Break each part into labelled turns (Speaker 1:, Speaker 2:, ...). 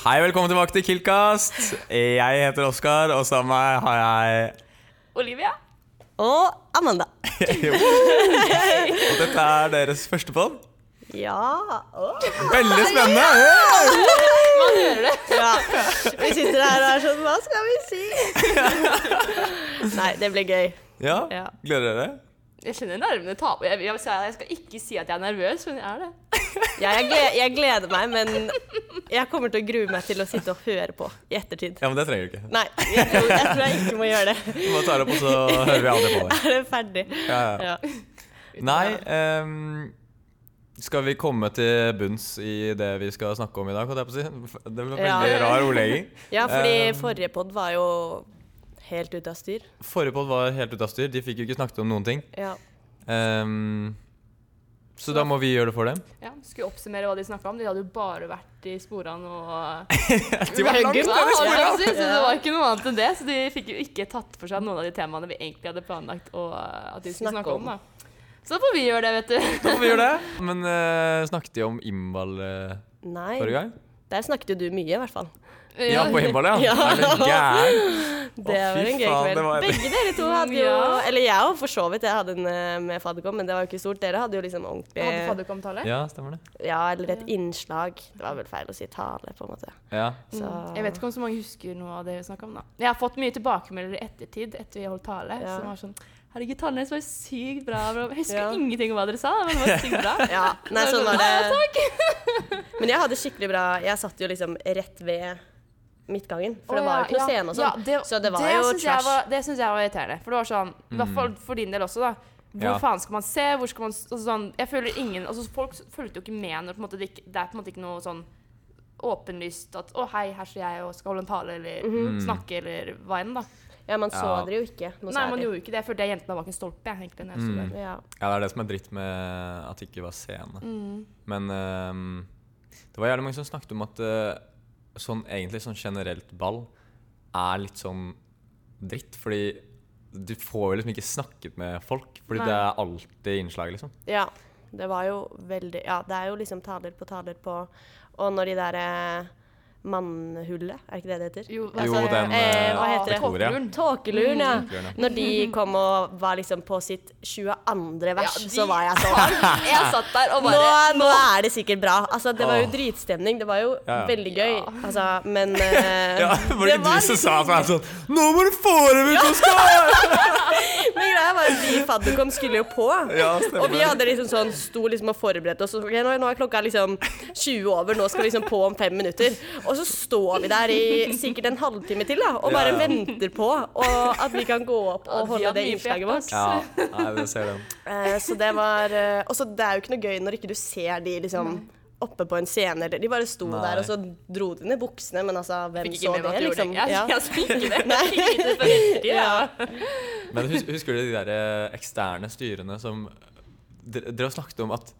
Speaker 1: Hei, velkommen tilbake til Killcast. Jeg heter Oskar, og sammen med meg har jeg
Speaker 2: Olivia?
Speaker 3: Og Amanda.
Speaker 1: Og dette er deres første pod.
Speaker 3: Ja. Åh.
Speaker 1: Veldig spennende! Hey!
Speaker 3: ja. Vi sitter her og er sånn Hva skal vi si? Nei, det blir gøy.
Speaker 1: Ja,
Speaker 2: Ja.
Speaker 1: Gleder dere?
Speaker 2: Jeg kjenner nervene ta på. Jeg, jeg, jeg skal ikke si at jeg er nervøs, men jeg er det.
Speaker 3: Ja, jeg, gleder, jeg gleder meg, men jeg kommer til å grue meg til å sitte og høre på i ettertid.
Speaker 1: Ja, men det trenger du ikke.
Speaker 3: Nei, jeg tror jeg, tror jeg ikke må gjøre det.
Speaker 1: Du bare tar det opp, og så hører vi aldri på det.
Speaker 3: Er det ferdig?
Speaker 1: Ja, ja.
Speaker 3: Ja.
Speaker 1: Nei ehm, Skal vi komme til bunns i det vi skal snakke om i dag, holdt jeg på å si? Det ble
Speaker 3: Ja.
Speaker 1: veldig rar ordlegging.
Speaker 3: ja, fordi
Speaker 1: Ehm,
Speaker 3: forrige pod var jo helt ute av styr.
Speaker 1: Forrige pod var helt ute av styr. De fikk jo ikke snakket om noen ting.
Speaker 3: Ja.
Speaker 1: Ehm, så da må vi gjøre det for dem.
Speaker 2: Ja, skulle oppsummere hva de snakka om. De hadde jo bare vært i sporene og
Speaker 1: De var langt
Speaker 2: Ja,
Speaker 1: over
Speaker 2: altså,
Speaker 1: sporet!
Speaker 2: Så det var ikke noe annet enn det. Så de fikk jo ikke tatt for seg noen av de temaene vi egentlig hadde planlagt og, eh, at de skulle
Speaker 3: Snakke
Speaker 2: snakke om.
Speaker 3: om.
Speaker 2: da. Så da får vi gjøre det, vet du.
Speaker 1: Hvorfor gjør det? Men eh, snakket de om innball eh,
Speaker 3: Nei.
Speaker 1: forrige gang?
Speaker 3: Der snakket jo du mye, i hvert fall.
Speaker 1: Ja, på innball, ja.
Speaker 3: Ja.
Speaker 1: Er du gæren?
Speaker 3: Det
Speaker 1: Å, fy
Speaker 3: var en gøy
Speaker 1: faen,
Speaker 3: kveld.
Speaker 1: det var-
Speaker 3: Begge dere to hadde jo
Speaker 2: Ja.
Speaker 3: Eller jeg òg, for så vidt. Jeg hadde en eh, med fadderkom, men det var jo ikke stort. Dere hadde jo liksom ordentlig
Speaker 2: Hadde fadderkomtale?
Speaker 1: Ja, stemmer det.
Speaker 3: Ja, eller et innslag. Det var vel feil å si tale, på en måte.
Speaker 1: Ja.
Speaker 3: Så
Speaker 2: Mm. Jeg vet ikke om så mange husker noe av det vi snakka om. da. Jeg har fått mye tilbakemeldinger i ettertid etter vi holdt tale.
Speaker 3: Ja.
Speaker 2: Som var sånn Herregud, talen deres var sykt bra. bra. Jeg husker
Speaker 3: Ja.
Speaker 2: ingenting om hva dere sa, men det var sykt bra.
Speaker 3: Ja. Nei, sånn var det. Men jeg hadde skikkelig bra Jeg satt jo liksom rett ved midtgangen, for det
Speaker 2: Å,
Speaker 3: var
Speaker 2: ja,
Speaker 3: jo ikke noe
Speaker 2: ja,
Speaker 3: scene og sånn.
Speaker 2: ja, det-
Speaker 3: så det var jo
Speaker 2: syns jeg
Speaker 3: trash.
Speaker 2: var- Det syns jeg var irriterende. For det var sånn, i hvert fall for din del også, da. Hvor
Speaker 1: Ja.
Speaker 2: faen skal man se? Hvor skal man s- altså sånn, Jeg føler ingen altså Folk s- fulgte jo ikke med når på en måte, det, ikke, det er på en måte ikke noe sånn åpenlyst at 'Å, hei, her står jeg og skal holde en tale', eller snakke, eller hva enn, da.
Speaker 3: Ja, man så
Speaker 1: Ja.
Speaker 3: dere jo ikke
Speaker 2: Nei,
Speaker 3: noe
Speaker 2: man gjorde
Speaker 3: særlig.
Speaker 2: jo ikke det. Jeg følte jeg jentene var bak en stolpe, jeg, egentlig. Når jeg sto der.
Speaker 3: Ja.
Speaker 1: ja, det er det som er dritt med at det ikke var scene. Men ehm, det var jævlig mange som snakket om at eh, sånn egentlig sånn generelt ball er litt sånn dritt, fordi du får jo liksom ikke snakket med folk, fordi
Speaker 2: Nei.
Speaker 1: det er alltid innslag, liksom.
Speaker 3: Ja. Det var jo veldig Ja, det er jo liksom taler på taler på Og når de der eh, mannhullet, er ikke det det heter?
Speaker 2: Jo,
Speaker 1: Jo, den
Speaker 3: eh, hva
Speaker 1: eh,
Speaker 3: heter det?
Speaker 1: Victoria.
Speaker 2: Tåkeluren.
Speaker 3: Tåkeluren, ja.
Speaker 1: Tåkeluren,
Speaker 3: Når de kom og var liksom på sitt 22. vers,
Speaker 2: Ja, de-
Speaker 3: så var jeg sånn
Speaker 2: Jeg satt der og
Speaker 3: nå,
Speaker 2: bare
Speaker 3: nå er det sikkert bra. Altså, det var jo
Speaker 1: Åh.
Speaker 3: dritstemning. Det var jo
Speaker 1: Ja, ja.
Speaker 3: veldig gøy. Altså, men eh,
Speaker 1: Ja, var det ikke
Speaker 3: var
Speaker 1: du som
Speaker 3: litt-
Speaker 1: sa at jeg sånn Nå må du få dem ut, Oskar!
Speaker 3: Men greia var at vi i fadderkom skulle jo på.
Speaker 1: Ja, stemmer.
Speaker 3: Og vi hadde liksom sånn, sto liksom og forberedte oss. og så, Ok, nå, nå er klokka liksom 20 over, nå skal vi liksom på om fem minutter. Og så står vi der i sikkert en halvtime til da, og
Speaker 1: Ja,
Speaker 3: bare
Speaker 1: ja.
Speaker 3: venter på og at vi kan gå opp
Speaker 2: Ja, de
Speaker 3: og holde
Speaker 2: hadde
Speaker 3: det
Speaker 2: mye
Speaker 3: innslaget
Speaker 2: fett, ass.
Speaker 3: vårt.
Speaker 1: Ja, nei, det ser den.
Speaker 3: Eh, Så det var eh, Og så det er jo ikke noe gøy når ikke du ser de liksom oppe på en scene. eller- De bare sto
Speaker 1: Nei.
Speaker 3: der, og så dro de ned buksene, men altså, hvem
Speaker 2: Fikk ikke
Speaker 3: så
Speaker 2: med meg at
Speaker 3: det,
Speaker 2: jeg gjorde
Speaker 3: liksom?
Speaker 2: det. Jeg-
Speaker 3: Ja.
Speaker 2: Jeg fikk ikke det. Jeg fikk ikke det på riktig, ja.
Speaker 1: Men hus husker du de der eh, eksterne styrene som Dere dere har snakket om at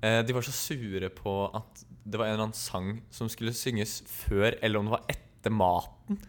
Speaker 1: eh, de var så sure på at det var en eller annen sang som skulle synges før, eller om det var etter maten.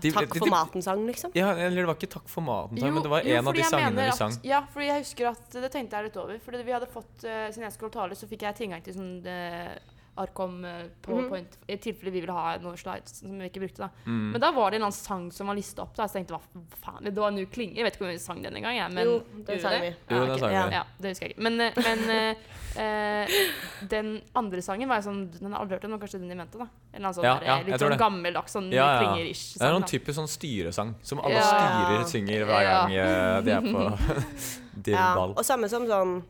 Speaker 1: De-
Speaker 3: Takk
Speaker 1: de-
Speaker 3: for
Speaker 1: de-
Speaker 3: maten-sang, liksom.
Speaker 1: Ja, eller det var ikke 'Takk for maten', sang,
Speaker 2: Jo,
Speaker 1: men det var
Speaker 2: jo,
Speaker 1: en av
Speaker 2: fordi
Speaker 1: de
Speaker 2: jeg
Speaker 1: sangene
Speaker 2: mener
Speaker 1: vi
Speaker 2: at-
Speaker 1: sang.
Speaker 2: Ja, fordi jeg husker at det tenkte jeg litt over. Fordi vi hadde fått uh, sin jeg skulle tale, så fikk jeg tilgang til sånn eh, Arkom eh, PowerPoint
Speaker 3: Mhm.
Speaker 2: i tilfelle vi ville ha noen slides som vi ikke brukte. da.
Speaker 1: Mm.
Speaker 2: Men da var det en eller annen sang som var lista opp, da, så jeg tenkte hva faen Det var en ny klinge. Jeg vet ikke om vi sang den engang, jeg. Men
Speaker 3: Jo,
Speaker 2: gjorde
Speaker 3: den
Speaker 2: vi Ah,
Speaker 3: sang vi.
Speaker 1: Jo, den
Speaker 2: ok.
Speaker 1: sangen
Speaker 3: ja.
Speaker 1: der.
Speaker 2: Ja, det husker jeg ikke. Men, eh, men eh, eh, den andre sangen var jeg sånn Den har jeg aldri hørt om, men kanskje den de mente, da. En eller annen sånn
Speaker 1: Ja,
Speaker 2: der,
Speaker 1: ja,
Speaker 2: litt
Speaker 1: jeg tror
Speaker 2: sånn
Speaker 1: det.
Speaker 2: gammeldags sånn
Speaker 1: Ja, ja.
Speaker 2: klinger-ish.
Speaker 1: Det er
Speaker 2: sang,
Speaker 1: noen
Speaker 2: da.
Speaker 1: typisk sånn styresang som alle
Speaker 2: Ja.
Speaker 1: styrer synger hver
Speaker 2: Ja.
Speaker 1: gang eh, de er på
Speaker 3: Ja.
Speaker 1: dirrball.
Speaker 3: Og samme som sånn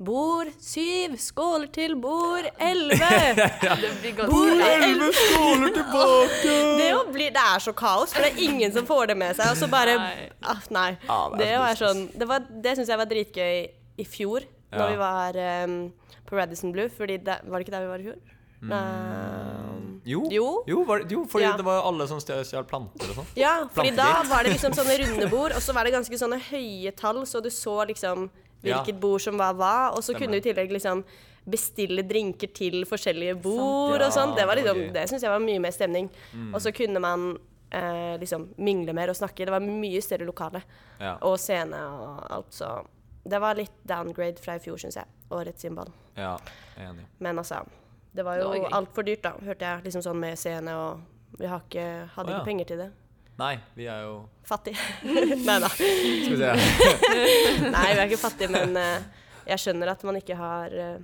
Speaker 3: Bord syv, skåler til bord elleve.
Speaker 2: Det blir godt.
Speaker 3: Bord
Speaker 2: Ja.
Speaker 3: elleve.
Speaker 1: skåler tilbake!
Speaker 3: Det, jo blir, det er så kaos, for det er ingen som får det med seg. Og så bare
Speaker 2: Nei.
Speaker 3: ah, Nei.
Speaker 1: Ja, det er
Speaker 3: Det, var
Speaker 1: trist, ass.
Speaker 3: sånn, det, var- det syns jeg var dritgøy i fjor,
Speaker 1: Ja.
Speaker 3: når vi var em, på Radisson Blue. Fordi det, var det ikke der vi var i fjor? Nei.
Speaker 1: Jo,
Speaker 3: Jo.
Speaker 1: jo, var det, jo fordi
Speaker 3: Ja.
Speaker 1: det var jo alle som stjal stjal planter og sånn.
Speaker 3: Ja, fordi da
Speaker 1: Plankegate.
Speaker 3: var det liksom sånne runde bord, og så var det ganske sånne høye tall, så du så liksom
Speaker 1: Ja.
Speaker 3: hvilket bord som var hva, og så
Speaker 1: Stemmer.
Speaker 3: kunne du i tillegg liksom bestille drinker til forskjellige bord
Speaker 1: Ja,
Speaker 3: og sånn. Det, var
Speaker 1: det var
Speaker 3: liksom,
Speaker 1: gøy.
Speaker 3: det syns jeg var mye mer stemning.
Speaker 1: Mm.
Speaker 3: Og så kunne man eh, liksom mingle mer og snakke. Det var mye større lokale
Speaker 1: sånn. Ja.
Speaker 3: og scene og alt, så det var litt downgrade fra i fjor, syns jeg. Årets innball.
Speaker 1: Ja, jeg er enig.
Speaker 3: Men altså, Det var jo
Speaker 2: Det var gøy.
Speaker 3: altfor dyrt, da, hørte jeg. Liksom sånn med scene og Vi har ikke, hadde
Speaker 1: Å, ja.
Speaker 3: ikke penger til det.
Speaker 1: Nei, vi er jo
Speaker 3: Fattig. Nei da.
Speaker 1: Skal vi se.
Speaker 3: Nei, vi er ikke fattige, men eh, jeg skjønner at man ikke har eh,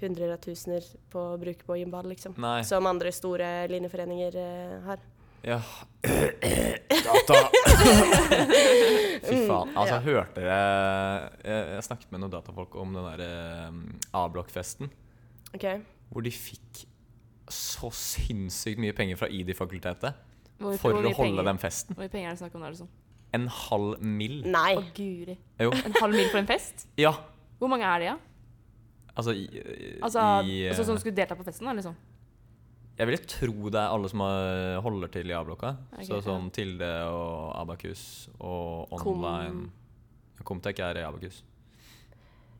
Speaker 3: hundrer av tusener på å bruke på gymball, liksom.
Speaker 1: Nei.
Speaker 3: Som andre store linjeforeninger eh, har.
Speaker 1: Ja. Data. Fy
Speaker 2: Mm.
Speaker 1: faen. Altså, jeg hørte dere jeg, jeg snakket med noen datafolk om den der eh, A-blokkfesten,
Speaker 3: OK.
Speaker 1: hvor de fikk så sinnssykt mye penger fra ID-fakultetet
Speaker 2: Hvor,
Speaker 1: for
Speaker 2: hvor
Speaker 1: å
Speaker 2: mye
Speaker 1: holde
Speaker 2: penger-
Speaker 1: den festen.
Speaker 2: Hvor mye penger er det snakk om da? Liksom?
Speaker 1: En halv mill.
Speaker 3: Nei.
Speaker 2: Å, guri.
Speaker 1: Jo.
Speaker 2: En halv mil for en fest?
Speaker 1: Ja.
Speaker 2: Hvor mange er det, ja?
Speaker 1: Altså, i, i,
Speaker 2: Altså,
Speaker 1: i, eh,
Speaker 2: altså Som skulle delta på festen? da, liksom?
Speaker 1: Jeg ville tro det er alle som har- holder til i A-blokka.
Speaker 2: Ok,
Speaker 1: så
Speaker 2: ja.
Speaker 1: sånn Tilde og Abakus og
Speaker 3: Kom-
Speaker 1: online Comtech er i Abakus.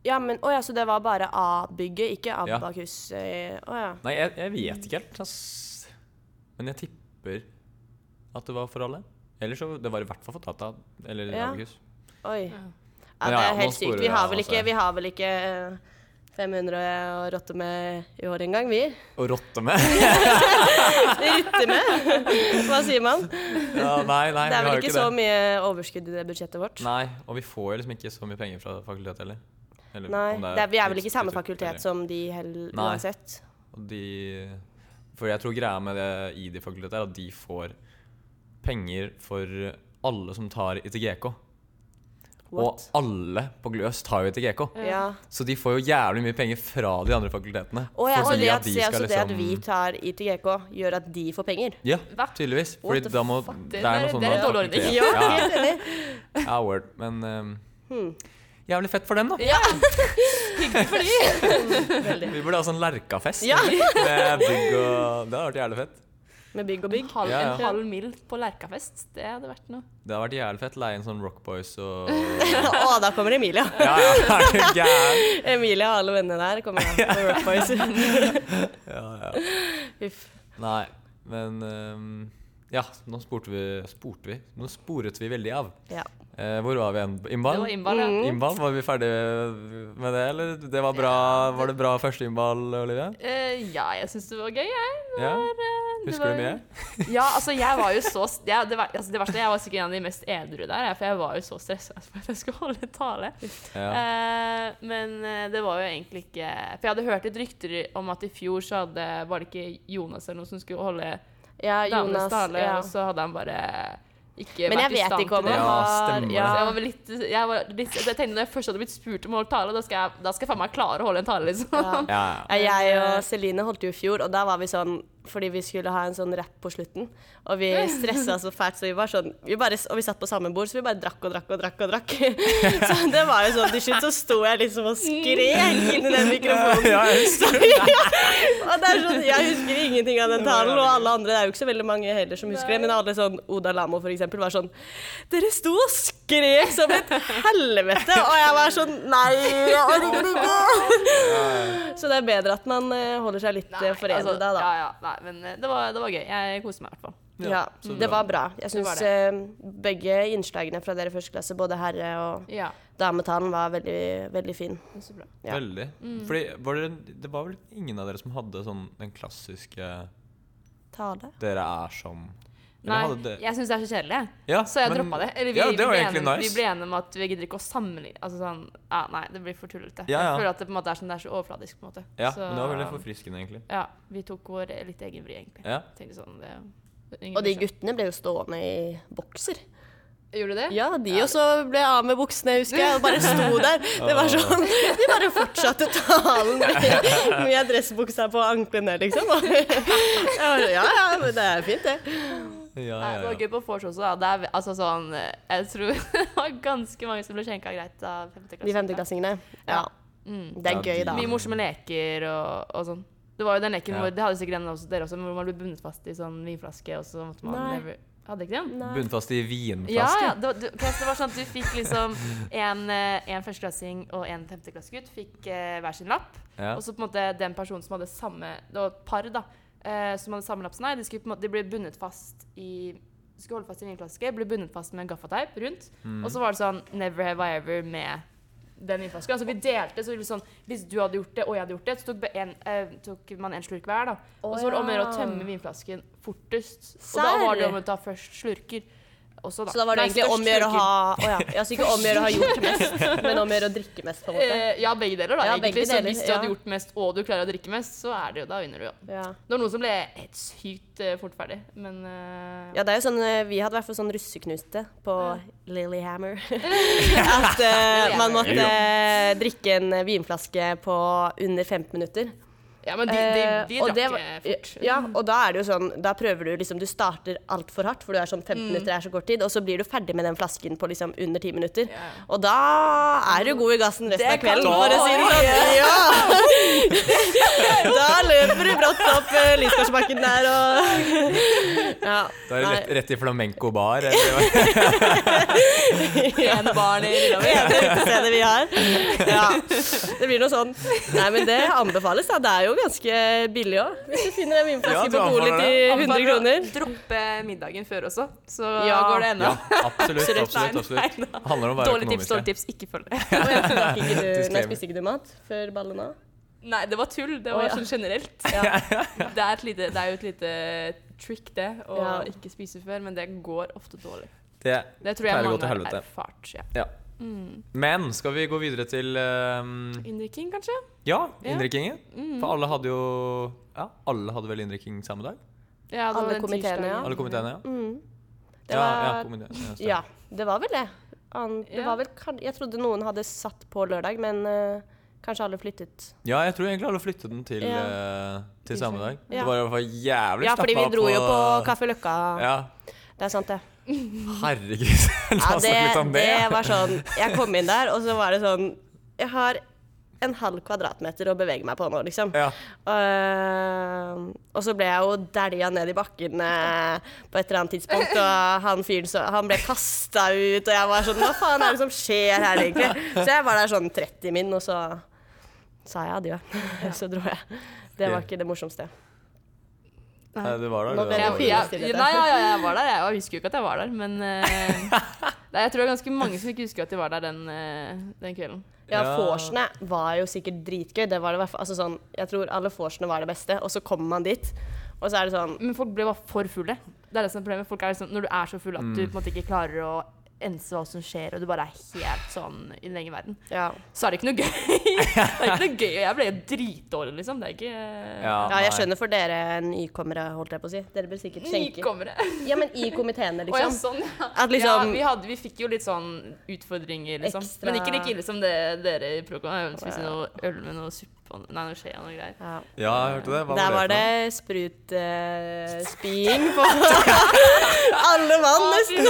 Speaker 3: Ja, men Å ja, så det var bare A-bygget, ikke
Speaker 1: Ja.
Speaker 3: Abakus? eh, Å ja.
Speaker 1: Nei, jeg, jeg vet ikke helt. Ass. Men jeg tipper at det var for alle. Eller så Det var i hvert fall for Tata eller
Speaker 3: Ja.
Speaker 1: Abakus.
Speaker 3: Oi.
Speaker 2: Ja.
Speaker 1: Ja,
Speaker 3: Ja, det
Speaker 1: ja,
Speaker 3: er helt
Speaker 1: nå
Speaker 3: sykt.
Speaker 1: sporer
Speaker 3: Vi har
Speaker 1: jeg,
Speaker 3: vel
Speaker 1: altså.
Speaker 3: ikke, vi har vel ikke eh, 500 å rotte med i år engang, vi.
Speaker 1: Og rotte med!
Speaker 3: Rutte med! Hva sier man?
Speaker 1: ja, nei, nei, vi
Speaker 3: Det er
Speaker 1: har
Speaker 3: vel
Speaker 1: jo
Speaker 3: ikke
Speaker 1: ikke
Speaker 3: så
Speaker 1: det.
Speaker 3: mye overskudd i det budsjettet vårt.
Speaker 1: Nei, og vi får jo liksom ikke så mye penger fra fakultetet heller. Eller
Speaker 3: Nei,
Speaker 1: om
Speaker 3: det er, vi er vel ikke samme
Speaker 1: institutt eller-
Speaker 3: fakultet som de heller,
Speaker 1: Nei.
Speaker 3: uansett.
Speaker 1: Og de For jeg tror greia med det ID-fakultetet er at de får penger for alle som tar ITGK.
Speaker 3: What?
Speaker 1: Og alle på Gløs tar jo ITGK.
Speaker 3: Ja.
Speaker 1: Så de får jo jævlig mye penger fra de andre fakultetene.
Speaker 3: Og ja, så
Speaker 1: fordi
Speaker 3: det
Speaker 1: at
Speaker 3: at,
Speaker 1: de
Speaker 3: se,
Speaker 1: skal
Speaker 3: altså det at
Speaker 1: liksom-
Speaker 3: vi tar ITGK, gjør at de får penger.
Speaker 1: Ja,
Speaker 2: Eh, Hva?
Speaker 1: tydeligvis. Fordi
Speaker 3: the
Speaker 1: da må
Speaker 3: fuck?
Speaker 2: Det
Speaker 1: noe
Speaker 2: er-
Speaker 1: sånn
Speaker 2: det er
Speaker 1: at
Speaker 2: en dårlig ordning.
Speaker 1: fakultet-
Speaker 3: Ja,
Speaker 1: Ja,
Speaker 3: helt enig.
Speaker 1: ja, word. Men ehm, jævlig fett for dem, da.
Speaker 2: Ja! Hyggelig for de.
Speaker 3: Veldig.
Speaker 1: Vi burde ha sånn Lerkafest
Speaker 3: Ja.
Speaker 1: med bygg og Det hadde vært jævlig fett.
Speaker 3: Med bygg og bygg.
Speaker 2: Halv,
Speaker 1: Ja, ja.
Speaker 2: En halv mil på Lerkafest. Det hadde vært noe.
Speaker 1: Det hadde vært jævlig fett. Leie inn sånn Rock Boys og
Speaker 3: Å, da kommer Emilia.
Speaker 1: Ja, ja, er du gæren?
Speaker 3: Emilia og alle vennene der kommer da. på Rock Boys. Uff.
Speaker 1: Nei, men ehm, Ja, nå spurte vi, spurte vi. Nå sporet vi veldig av.
Speaker 3: Ja.
Speaker 1: Eh, hvor var vi igjen?
Speaker 2: Det
Speaker 1: Innball?
Speaker 2: var innball, ja.
Speaker 1: Innball, Var vi ferdige med det, eller? Det var, bra, var det bra første innball, Olivia?
Speaker 2: Eh, ja, jeg syns det var gøy, jeg. Det
Speaker 1: Ja.
Speaker 2: var, eh, det
Speaker 1: Husker
Speaker 2: var-
Speaker 1: du mye?
Speaker 2: Ja, altså, jeg var jo så s- ja, det, var, altså, det verste, jeg var sikkert en av de mest edru der, jeg, for jeg var jo så stressa for at jeg skulle holde tale.
Speaker 1: Ja.
Speaker 2: Eh, men eh, det var jo egentlig ikke For jeg hadde hørt et rykter om at i fjor så hadde, var det ikke Jonas eller noe som skulle holde
Speaker 3: ja,
Speaker 2: damenes
Speaker 3: Jonas.
Speaker 2: tale,
Speaker 3: Ja.
Speaker 2: og så hadde han bare ikke
Speaker 3: Men
Speaker 2: vært
Speaker 3: jeg
Speaker 2: i
Speaker 3: vet
Speaker 2: stand
Speaker 3: ikke om
Speaker 2: til det.
Speaker 3: han
Speaker 1: Ja,
Speaker 3: har
Speaker 1: stemmer det.
Speaker 2: Så jeg
Speaker 3: ja.
Speaker 2: var vel litt, jeg var litt Jeg tenkte når jeg først hadde blitt spurt om å holde tale, da skal jeg, da skal jeg faen meg klare å holde en tale, liksom.
Speaker 3: Ja.
Speaker 1: Ja.
Speaker 3: Ja, Eh, Jeg og Celine holdt jo i fjor, og da var vi sånn fordi vi skulle ha en sånn rapp på slutten. Og vi stressa så fælt, så vi var sånn vi bare, Og vi satt på samme bord, så vi bare drakk og drakk og drakk. og drakk Så det var jo sånn til slutt så sto jeg liksom og skrek inn i den mikrofonen.
Speaker 1: Ja, jeg husker det.
Speaker 3: Og det er sånn, Jeg husker ingenting av den talen, og alle andre, det er jo ikke så veldig mange heller som husker det, men alle sånn Oda Lamo for eksempel var sånn Dere sto og skrek som et helvete, og jeg var sånn Nei, jeg orker ikke! Så det er bedre at man eh, holder seg litt eh, forenet
Speaker 2: altså,
Speaker 3: da.
Speaker 2: Ja, ja, nei, men eh, det var, det var gøy. Jeg koste meg i hvert fall.
Speaker 3: Ja,
Speaker 1: så
Speaker 3: det var bra. Jeg
Speaker 2: Det var
Speaker 3: syns eh, begge innslagene fra dere i første klasse, både herre- og
Speaker 2: Ja,
Speaker 3: dametalen, var veldig, veldig fin.
Speaker 2: så bra.
Speaker 3: Ja.
Speaker 1: Veldig.
Speaker 2: Mm.
Speaker 1: Fordi var det, det var vel ingen av dere som hadde sånn den klassiske
Speaker 3: Tale?
Speaker 1: 'dere er som' Eller
Speaker 2: Nei,
Speaker 1: hadde det-
Speaker 2: jeg syns det er så kjedelig, jeg.
Speaker 1: Ja,
Speaker 2: så jeg
Speaker 1: men-
Speaker 2: droppa det. Eller vi,
Speaker 1: ja, det var
Speaker 2: vi, ble
Speaker 1: egentlig
Speaker 2: enige, vi
Speaker 1: nice.
Speaker 2: ble enige om at vi gidder ikke å sammenligne altså sånn, ja, Nei, det blir for tullete.
Speaker 1: Ja, ja.
Speaker 2: Jeg føler at det på en måte er sånn, det er så overfladisk. på en måte
Speaker 1: Ja,
Speaker 2: så,
Speaker 1: men det var veldig forfriskende, egentlig.
Speaker 2: Ja, vi tok vår eh, litt egen vri, egentlig.
Speaker 1: Ja.
Speaker 2: Tenkte sånn, det, det er ingen
Speaker 3: Og de
Speaker 2: beskjed.
Speaker 3: guttene ble jo stående i bokser.
Speaker 2: Gjorde du det?
Speaker 3: Ja, de også ble av med buksene, husker jeg, og bare sto der. Det var sånn, De bare fortsatte talen med, med dressbuksa på anklene, liksom. Og jeg var, ja, ja, men det er fint, det.
Speaker 1: Ja,
Speaker 2: Nei, det
Speaker 1: ja,
Speaker 2: var
Speaker 1: ja.
Speaker 2: gøy på vors også. Da. Det er, altså, sånn, eh, jeg tror det var ganske mange som ble skjenka greit av femte klasse.
Speaker 3: De femteklassingene. Ja. Det er gøy, da.
Speaker 2: Mye morsomme leker og, og sånn. Det var jo den leken
Speaker 1: Ja.
Speaker 2: hvor det hadde sikkert en også, dere også, men hvor man ble bundet fast i sånn vinflaske. Og så måtte man
Speaker 3: Nei.
Speaker 2: leve- Hadde ikke den?
Speaker 3: Nei.
Speaker 1: Bunnfast i
Speaker 2: Ja,
Speaker 1: vinflaske.
Speaker 2: ja. Det var, du, ok, så det var sånn at du fikk liksom en, eh, en førsteklassing og en femteklassegutt fikk eh, hver sin lapp.
Speaker 1: Ja.
Speaker 2: Og så på en måte den personen som hadde samme Det var et par da eh, som hadde samme lapp som deg. De, skulle på en måte, de ble bundet fast i de skulle holde fast i en vinflaske, ble bundet fast med gaffateip rundt. Og så var det sånn Never have I ever med den innflasken. Altså, vi delte, så vi liksom, hvis du hadde gjort det, og jeg hadde gjort det, så tok, be- en, eh, tok man en slurk hver. da. og så var det om å gjøre å
Speaker 3: ja.
Speaker 2: tømme vinflasken fortest. Og da var det om å ta først slurker. Også, da.
Speaker 3: Så da var det
Speaker 2: Nei,
Speaker 3: egentlig
Speaker 2: størst
Speaker 3: om å gjøre å
Speaker 2: slurker.
Speaker 3: ha å ja. Altså ikke om å gjøre å ha gjort mest, men om å gjøre å drikke mest, på en måte.
Speaker 2: Eh, ja, begge deler. da,
Speaker 3: Ja,
Speaker 2: egentlig.
Speaker 3: begge
Speaker 2: så
Speaker 3: deler,
Speaker 2: Hvis du hadde
Speaker 3: ja.
Speaker 2: gjort mest, og du klarer å drikke mest, så er det jo, da vinner du. jo.
Speaker 3: Ja.
Speaker 2: Det var noen som ble helt sykt eh, fort ferdig, men eh,
Speaker 3: Ja, det er jo sånn, eh, Vi hadde i hvert fall sånn russeknuste på Lilyhammer. At eh, man måtte eh, drikke en vinflaske på under 15 minutter.
Speaker 2: ja, men de, de, de,
Speaker 3: Eh, og det
Speaker 2: drakk eh,
Speaker 3: var-
Speaker 2: fort.
Speaker 3: Ja, og da er det jo sånn Da prøver du liksom Du starter altfor hardt, for du er sånn 15
Speaker 2: Mm.
Speaker 3: minutter er så kort tid, og så blir du ferdig med den flasken på liksom under 10 minutter.
Speaker 2: Ja.
Speaker 3: Og da er du god i gassen resten av kvelden,
Speaker 1: kan
Speaker 3: for å si det sånn. Ja! da løper du brått opp eh, Lysgårdsbakken der og Ja.
Speaker 1: Da er det
Speaker 3: nei.
Speaker 1: rett, rett i flamenco bar. Eller,
Speaker 2: En barn i
Speaker 3: Det
Speaker 2: Lillehammer.
Speaker 3: eneste utestedet vi har. Ja. Det blir noe sånn. Nei, men det anbefales, da. Det er jo ganske billig òg. Hvis du finner en
Speaker 1: Ja,
Speaker 3: vinflaske
Speaker 1: du
Speaker 3: på Polet
Speaker 1: anbefaler
Speaker 3: til 100 kroner.
Speaker 2: Droppe middagen før også, så
Speaker 3: Ja.
Speaker 2: går det
Speaker 1: ja,
Speaker 2: ennå.
Speaker 1: absolutt.
Speaker 2: Absolutt,
Speaker 1: absolutt,
Speaker 2: nei,
Speaker 1: absolutt. Det handler om å være
Speaker 2: Dårlig tips, dårlig
Speaker 1: økonomisk.
Speaker 2: tips. Ikke følg det.
Speaker 3: Å, ja, så drakk ikke du- Nei,
Speaker 1: Disclaimer.
Speaker 3: spiste ikke du mat før ballet nå?
Speaker 2: Nei, det var tull. Det var
Speaker 3: Å, ja.
Speaker 2: sånn generelt.
Speaker 3: Ja.
Speaker 2: Det er, et lite, det er jo et lite trick, det, å
Speaker 3: Ja.
Speaker 2: ikke spise før, men det går ofte dårlig.
Speaker 1: Det.
Speaker 2: Det tror jeg
Speaker 1: Pleier å gå
Speaker 2: mange
Speaker 1: til
Speaker 2: har
Speaker 1: helvete.
Speaker 2: erfart. Ja.
Speaker 1: Ja.
Speaker 2: Mm.
Speaker 1: Men skal vi gå videre til ehm,
Speaker 2: Innrikking, kanskje?
Speaker 1: Ja,
Speaker 2: Ja.
Speaker 1: innrikkingen.
Speaker 3: Mm.
Speaker 1: For alle hadde jo Ja, alle hadde vel innrikking samme dag?
Speaker 2: Ja, det var
Speaker 3: Alle
Speaker 2: den
Speaker 3: komiteene,
Speaker 2: tirsdagen.
Speaker 3: ja.
Speaker 1: Alle komiteene, ja?
Speaker 3: Mm. Det
Speaker 1: ja, ja,
Speaker 3: var,
Speaker 1: komiteene, ja, stemmer.
Speaker 3: ja, det var vel det. An, det
Speaker 2: Ja.
Speaker 3: var vel, kan- jeg trodde noen hadde satt på lørdag, men eh, kanskje alle flyttet.
Speaker 1: ja, jeg tror egentlig alle flyttet den til, eh, til samme dag.
Speaker 3: Ja.
Speaker 1: Det var i hvert fall jævlig
Speaker 3: Ja, fordi vi
Speaker 1: stappa
Speaker 3: dro jo på Kaffe Løkka.
Speaker 1: Ja,
Speaker 3: Det er sant, det.
Speaker 1: herregud. La
Speaker 3: Ja,
Speaker 1: oss snakke litt
Speaker 3: det,
Speaker 1: om det.
Speaker 3: det var sånn Jeg kom inn der, og så var det sånn Jeg har en halv kvadratmeter å bevege meg på nå, liksom.
Speaker 1: Ja.
Speaker 3: Ehm, og så ble jeg jo dælja ned i bakken eh, på et eller annet tidspunkt, og han fyren så Han ble kasta ut, og jeg var sånn Hva faen er det som skjer her, egentlig? Så jeg var der sånn 30 min, og så sa jeg adjø. Så dro jeg. Det var ikke det morsomste.
Speaker 1: Nei, eh, det var
Speaker 3: Nå
Speaker 1: da.
Speaker 3: ble
Speaker 1: Det var
Speaker 2: Jeg,
Speaker 3: jeg
Speaker 1: det.
Speaker 3: fire.
Speaker 2: jeg, jeg, nei, ja, ja, jeg var der. Jeg husker jo ikke at jeg var der, men eh, det er- Jeg tror det er ganske mange som ikke husker at de var der den, eh, den kvelden.
Speaker 3: Ja,
Speaker 1: Ja.
Speaker 3: vorsene var jo sikkert dritgøy. Det var det, i hvert fall- altså sånn, jeg tror alle vorsene var det beste, og så kommer man dit, og så er det sånn
Speaker 2: Men folk ble bare for fulle. Det er det som er problemet. Folk er liksom, når du er så full at
Speaker 1: Mm.
Speaker 2: du på en måte ikke klarer å ense hva som skjer, og du bare er helt sånn i den egen verden,
Speaker 3: Ja.
Speaker 2: så er det ikke noe gøy. Det er ikke noe gøy, og jeg ble jo dritdårlig, liksom. Det er ikke
Speaker 1: Ja,
Speaker 3: ja, jeg
Speaker 1: Ah, nei.
Speaker 3: skjønner for dere nykommere, holdt jeg på å si. Dere bør sikkert skjenke.
Speaker 2: Nykommere.
Speaker 3: Ja, men i komiteene,
Speaker 2: Å ja,
Speaker 3: liksom.
Speaker 2: sånn, ja.
Speaker 3: At liksom-
Speaker 2: ja vi, hadde, vi fikk jo litt sånn utfordringer, liksom.
Speaker 3: Ekstra-
Speaker 2: Men ikke like ille som det dere i Procon. Spiste noe øl med noe suppe og nei, noe skje og noe greier.
Speaker 3: Ja.
Speaker 1: Ja, jeg hørte det. Hva
Speaker 3: Der var
Speaker 1: var det?
Speaker 3: det sprutspying på alle mann, nesten.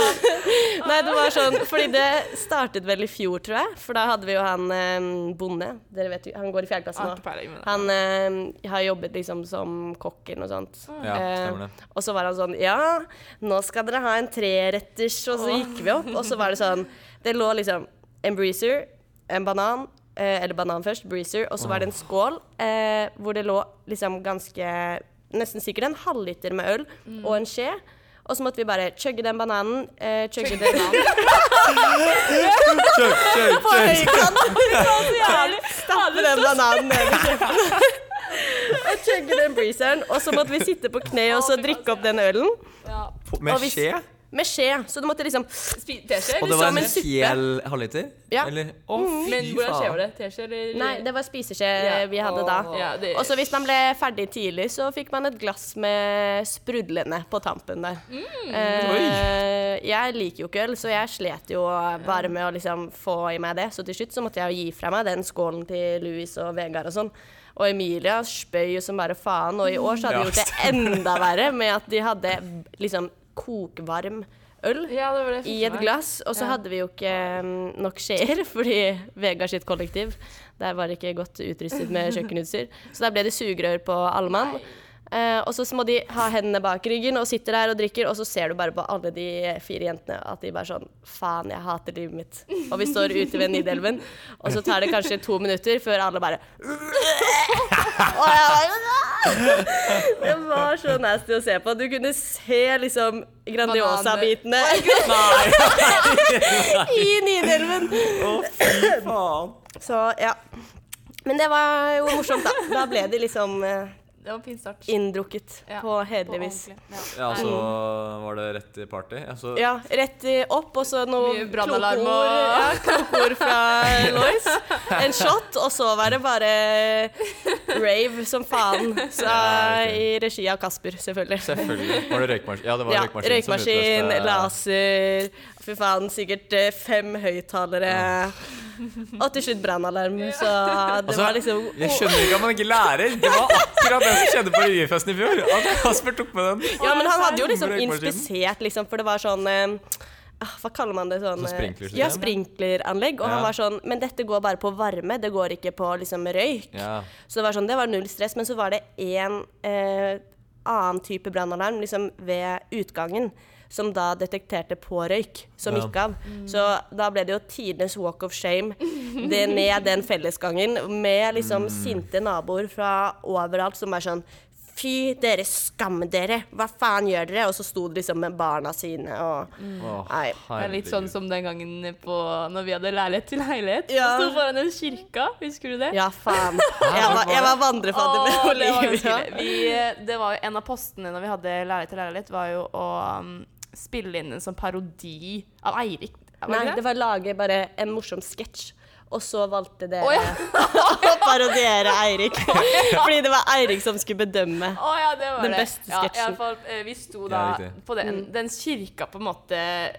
Speaker 3: Nei, det var sånn Fordi det startet vel i fjor, tror jeg. For da hadde vi jo han eh, bonde. Dere vet jo, han går i fjerde klasse
Speaker 1: Ah,
Speaker 2: Har ikke
Speaker 3: nå.
Speaker 2: peiling, men-
Speaker 3: Han eh, har jobbet liksom som kokk eller noe sånt.
Speaker 1: for noe? Ja, stemmer det.
Speaker 3: Eh, og så var han sånn Ja, nå skal dere ha en treretters. Og så gikk vi opp, og så var det sånn Det lå liksom en breezer, en banan, eh, eller banan først, breezer, og så var det en skål eh, hvor det lå liksom ganske Nesten sikkert en halvliter med øl og en skje. Og så måtte vi bare chugge den bananen. Eh, chugge den
Speaker 1: Kjør, kjør, kjør.
Speaker 3: bananen. Stappe den bananen ned i kjeften. Og chugge den breezeren. Og så måtte vi sitte på kne og så drikke opp den ølen.
Speaker 2: Ja.
Speaker 3: Og
Speaker 1: Med
Speaker 3: hvis-
Speaker 1: skje?
Speaker 3: Med skje, så du måtte liksom
Speaker 2: Spi- Teskje?
Speaker 1: Og
Speaker 2: eller
Speaker 1: det var
Speaker 3: som
Speaker 1: en
Speaker 3: en suppe.
Speaker 1: hel halvliter?
Speaker 3: Ja.
Speaker 1: Eller Å, fy faen.
Speaker 2: Mm. Men hvordan skjer det? Teskje eller
Speaker 3: Nei, det var spiseskje
Speaker 2: Ja.
Speaker 3: vi hadde da.
Speaker 2: Ja, det-
Speaker 3: Og så hvis man ble ferdig tidlig, så fikk man et glass med sprudlende på tampen der. Eh, jeg liker jo ikke øl, så jeg slet jo bare med å liksom få i meg det. Så til slutt så måtte jeg jo gi fra meg den skålen til Louis og Vegard og sånn. Og Emilia spøy jo som bare faen, og i år så
Speaker 1: Ja,
Speaker 3: hadde de gjort det enda verre med at de hadde liksom kokvarm øl.
Speaker 2: Ja, det var det jeg fikk
Speaker 3: I
Speaker 2: med
Speaker 3: et
Speaker 2: meg.
Speaker 3: glass, og så hadde vi jo ikke mm, nok skjeer, fordi Vegard sitt kollektiv der var ikke godt utrustet med kjøkkenutstyr. Så der ble det sugerør på alle mann. Eh, og så må de ha hendene bak ryggen og sitter der og drikker, og så ser du bare på alle de fire jentene at de bare sånn Faen, jeg hater livet mitt. Og vi står ute ved Nidelven, og så tar det kanskje to minutter før alle bare og jeg var jo Det var så nasty å se på. Du kunne se liksom Grandiosa-bitene i Nidelven.
Speaker 1: Å, fy faen.
Speaker 3: Så ja. Men det var jo morsomt, da. Da ble de liksom eh,
Speaker 2: Det var en fin start.
Speaker 3: inndrukket
Speaker 2: Ja,
Speaker 3: på
Speaker 2: På
Speaker 3: hederlig vis.
Speaker 2: ordentlig, Ja.
Speaker 1: Ja, så var det rett til party. Ja, så
Speaker 3: Ja, rett i- opp, og så noe
Speaker 2: Mye brannalarm
Speaker 3: klokeord
Speaker 2: og-
Speaker 3: ja, klokeord fra Lois. En shot, og så var det bare rave som faen. Så,
Speaker 1: Ja, ok.
Speaker 3: I regi av Kasper, selvfølgelig.
Speaker 1: selvfølgelig var det røykmaskin. Ja, det var
Speaker 3: Ja,
Speaker 1: røykmaskin,
Speaker 3: røykmaskin,
Speaker 1: som utløste
Speaker 3: laser Fy faen, sikkert eh, fem høyttalere. Og til slutt brannalarm, så det
Speaker 1: Altså,
Speaker 3: var liksom
Speaker 1: Jeg skjønner ikke at man ikke lærer. Det var akkurat det som skjedde på Ryefesten i fjor. At Kasper tok med den.
Speaker 3: Ja, men han hadde jo
Speaker 1: Bomber
Speaker 3: liksom
Speaker 1: røykmaskinen.
Speaker 3: inspisert, liksom, for det var sånn eh, ah, Hva kaller man det? Sånn,
Speaker 1: Sånn
Speaker 3: eh,
Speaker 1: sprinklersystem?
Speaker 3: Ja, sprinkleranlegg. Og
Speaker 1: Ja.
Speaker 3: han var sånn Men dette går bare på varme, det går ikke på liksom røyk.
Speaker 1: Ja.
Speaker 3: Så det var sånn, det var null stress. Men så var det én eh, annen type brannalarm liksom ved utgangen. Som da detekterte på røyk, som
Speaker 1: Ja.
Speaker 3: gikk av. Så da ble det jo tidenes walk of shame det ned den fellesgangen med liksom sinte naboer fra overalt som er sånn Fy, dere skam dere! Hva faen gjør dere? Og så sto det liksom med barna sine og
Speaker 1: Åh,
Speaker 3: Nei.
Speaker 2: Det er litt sånn
Speaker 1: herregud.
Speaker 2: som den gangen på, når vi hadde leilighet til leilighet.
Speaker 3: Ja.
Speaker 2: Og sto foran en kirke, husker du det?
Speaker 3: Ja, faen. Jeg var, jeg var vandrefattig med
Speaker 2: Åh, det var
Speaker 3: oliven.
Speaker 2: ganske ille. Vi, eh, det var jo en av postene når vi hadde Lærlighet til lærlighet, var jo å um, spille inn en sånn parodi av Eirik. Var
Speaker 3: Nei,
Speaker 2: det
Speaker 3: det
Speaker 2: det?
Speaker 3: var å lage bare en morsom sketsj. Og så valgte dere
Speaker 2: Å, ja.
Speaker 3: å parodiere Eirik. Fordi det var Eirik som skulle bedømme.
Speaker 2: Å ja, det var
Speaker 3: Den
Speaker 2: det.
Speaker 3: beste
Speaker 2: Ja, i
Speaker 3: sketsjen. Mm.
Speaker 2: alle fall, eh, vi sto da
Speaker 1: Ja, riktig.
Speaker 2: på den, den kirka på en måte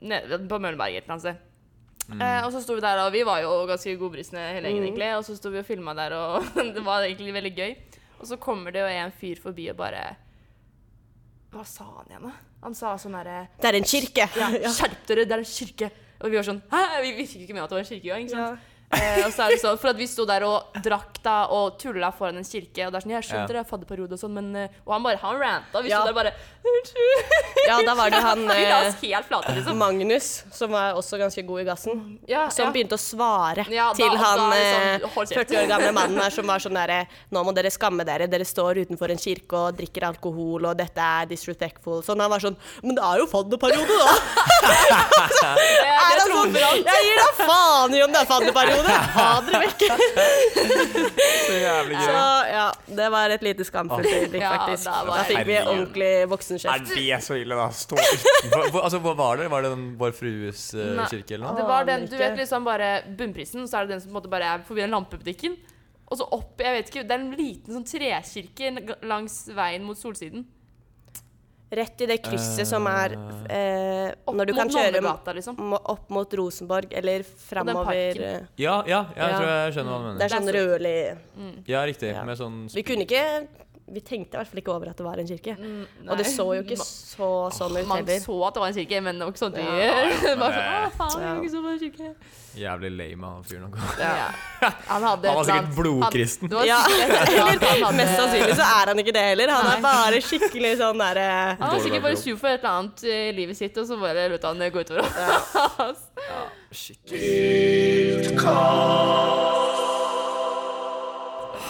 Speaker 2: nede på Møllenberget et eller annet sted.
Speaker 1: Mm.
Speaker 2: Eh, og så sto vi der, og vi var jo ganske godbrusne hele gjengen,
Speaker 3: Mm.
Speaker 2: egentlig. Og så sto vi og filma der, og det var egentlig veldig gøy. Og så kommer det jo en fyr forbi og bare Hva sa han igjen, da? Han sa sånn herre
Speaker 3: Det er en kirke! Ja.
Speaker 2: Skjerp dere, det er en kirke! Og vi var sånn Hæ? Vi vi fikk jo ikke med at det var en kirke engang. ikke
Speaker 3: Ja.
Speaker 2: sant? Eh, og så er det sånn, For at vi sto der og drakk da og tulla foran en kirke. Og det er sånn, jeg
Speaker 1: Ja.
Speaker 2: skjønte det, fadderperiode og sånn, men eh, Og han bare, han ranta. Vi
Speaker 3: Ja.
Speaker 2: sto der bare Unnskyld!
Speaker 3: ja, da var det han
Speaker 2: Vi la
Speaker 3: eh,
Speaker 2: oss helt flate, liksom.
Speaker 3: Magnus, som var også ganske god i gassen,
Speaker 2: Ja,
Speaker 3: som
Speaker 2: ja.
Speaker 3: begynte å svare
Speaker 2: Ja, da-
Speaker 3: til han
Speaker 2: da er
Speaker 3: eh,
Speaker 2: det sånn, hold kjeft.
Speaker 3: 40 år gamle mannen her som var sånn derre Nå må dere skamme dere, dere står utenfor en kirke og drikker alkohol, og dette er disrespectful. Sånn, han var sånn Men det er jo fadderperiode, da!
Speaker 2: Det,
Speaker 3: Er
Speaker 2: Eh, det
Speaker 3: han sånn,
Speaker 2: trumfer han.
Speaker 3: jeg gir da faen i om det er fadderperiode! Ha dere vekk!
Speaker 1: Så jævlig gøy.
Speaker 3: Så ja, det var et lite skamfullt øyeblikk,
Speaker 2: Ah. Ja,
Speaker 3: faktisk.
Speaker 2: da var
Speaker 3: Da fikk vi
Speaker 1: Herregud.
Speaker 3: ordentlig
Speaker 1: Er
Speaker 3: voksenkjeft.
Speaker 1: det så ille, da? Stå utenfor Hvor- Altså, Hva var det? Var det den Vår Frues eh,
Speaker 2: Nei.
Speaker 1: kirke eller noe?
Speaker 2: Det var den, du
Speaker 3: Aner
Speaker 2: vet
Speaker 3: ikke.
Speaker 2: liksom bare bunnprisen, så er det den som på en måte bare er forbi den lampebutikken. Og så opp, jeg vet ikke, det er en liten sånn trekirke langs veien mot solsiden.
Speaker 3: Rett i det krysset som er eh,
Speaker 2: Opp
Speaker 3: når du kan
Speaker 2: mot
Speaker 3: kjøre
Speaker 2: Nonnegata, liksom.
Speaker 3: mo- opp mot Rosenborg eller framover
Speaker 2: parken.
Speaker 3: eh,
Speaker 1: Ja, ja, jeg
Speaker 3: Ja.
Speaker 1: tror jeg skjønner hva du
Speaker 3: Det
Speaker 1: mener.
Speaker 3: er sånn rødlig
Speaker 1: Ja, riktig.
Speaker 3: Ja.
Speaker 1: Med sånn
Speaker 3: Vi kunne ikke Vi tenkte i hvert fall ikke over at det var en kirke. Og det
Speaker 2: Mm, nei.
Speaker 3: så jo ikke så sånn ut
Speaker 2: Man
Speaker 3: heller.
Speaker 2: så at det var en kirke, men det var ikke sånn at de
Speaker 3: Ja,
Speaker 2: bare sånn,
Speaker 1: det-
Speaker 2: «Å, faen, vi
Speaker 3: Ja.
Speaker 2: var ikke så på en kirke.
Speaker 1: jævlig lame av fyren å gå.
Speaker 2: Ja. Han, hadde
Speaker 1: Han var
Speaker 2: et
Speaker 1: sikkert
Speaker 2: eller annet-
Speaker 1: blodkristen.
Speaker 2: Han, det var
Speaker 3: Ja.
Speaker 2: sikkert et eller annet han hadde-
Speaker 3: Mest sannsynlig så er han ikke det heller. Han er bare skikkelig sånn derre
Speaker 2: Han var
Speaker 1: Dårlig
Speaker 2: sikkert bare
Speaker 1: bakgrunn.
Speaker 2: sur for et eller annet eh, i livet sitt, og så bare lot han det gå utover oss.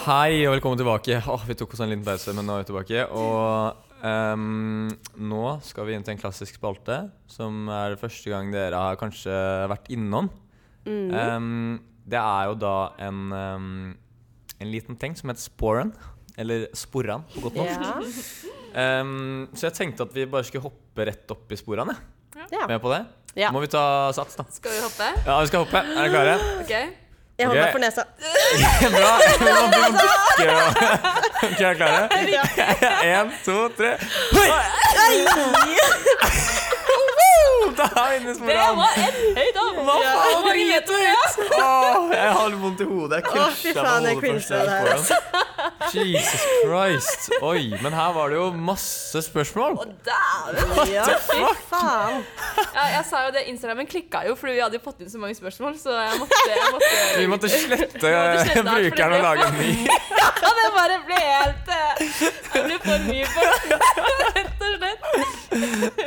Speaker 1: Hei og velkommen tilbake. Åh, vi tok oss en liten pause, men nå er vi tilbake. Og ehm, nå skal vi inn til en klassisk spalte, som er første gang dere har kanskje vært innom.
Speaker 3: Mm.
Speaker 1: Ehm, det er jo da en, ehm, en liten ting som heter sporen, eller sporran på godt norsk.
Speaker 3: Ja.
Speaker 1: Ehm, så jeg tenkte at vi bare skulle hoppe rett opp i sporene.
Speaker 3: Ja.
Speaker 1: Med på det?
Speaker 3: Ja.
Speaker 1: Må vi ta sats, da?
Speaker 2: Skal vi hoppe?
Speaker 1: Ja, vi skal hoppe. Er dere klare?
Speaker 2: Ok.
Speaker 3: Jeg holder
Speaker 1: Ok.
Speaker 3: meg for nesa.
Speaker 1: Bra. Vi må vi må bukke. og- Ok, er dere klare?
Speaker 3: Ja.
Speaker 1: Én, to, tre. Boom! Da er vi inne i
Speaker 2: Det
Speaker 1: sporene.
Speaker 2: var en høy dam!
Speaker 1: Hva
Speaker 3: Ja.
Speaker 1: faen? Dritdyrt! Åh, Jeg har litt vondt i hodet. Jeg
Speaker 3: Å, fy
Speaker 1: krasja på
Speaker 3: faen, jeg
Speaker 1: hodet først.
Speaker 3: cringet
Speaker 1: jeg gikk foran. Jesus Christ. Oi, men her var det jo masse spørsmål.
Speaker 3: Ja, fy faen.
Speaker 2: Ja, jeg sa jo det, Instagramen klikka jo fordi vi hadde jo fått inn så mange spørsmål, så jeg måtte, jeg måtte
Speaker 1: Vi måtte slette
Speaker 2: slette alt, for det
Speaker 1: brukeren og
Speaker 2: ble
Speaker 1: lage en ny.
Speaker 2: Ja, det bare ble helt eh, Det ble for mye for rett og slett.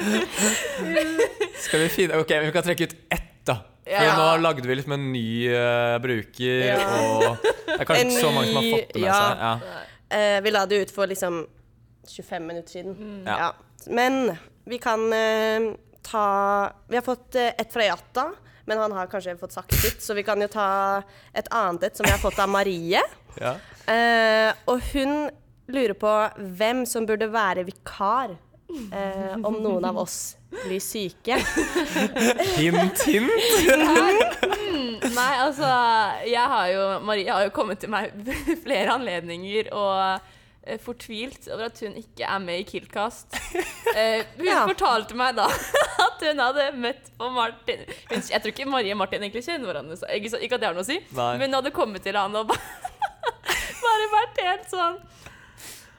Speaker 1: Skal vi finne Ok, vi kan trekke ut ett, da. For
Speaker 2: Ja.
Speaker 1: nå lagde vi liksom en ny eh, bruker,
Speaker 3: Ja.
Speaker 1: og det er kanskje
Speaker 3: En
Speaker 1: ikke så mange som har
Speaker 3: ny-
Speaker 1: fått det med
Speaker 3: ja.
Speaker 1: seg. Ja.
Speaker 3: Eh, vi la det ut for liksom 25 minutter siden.
Speaker 1: Ja.
Speaker 2: Mm.
Speaker 3: Ja. Men vi kan eh, ta Vi har fått eh, ett fra Jatta, Men han har kanskje fått sagt sitt, så vi kan jo ta et annet et som vi har fått av Marie.
Speaker 1: Ja.
Speaker 3: Eh, og hun lurer på hvem som burde være vikar eh, om noen av oss blir syke.
Speaker 1: Hint, hint.
Speaker 2: Nei, altså jeg har jo, Marie har jo kommet til meg ved flere anledninger og eh, fortvilt over at hun ikke er med i Killcast. Eh, hun
Speaker 3: Ja.
Speaker 2: fortalte meg da at hun hadde møtt på Martin hun, Jeg tror ikke Marie og Martin egentlig kjenner hverandre, så ikke, så- ikke at det har noe å si,
Speaker 1: Nei.
Speaker 2: men hun hadde kommet til han og ba, bare vært helt sånn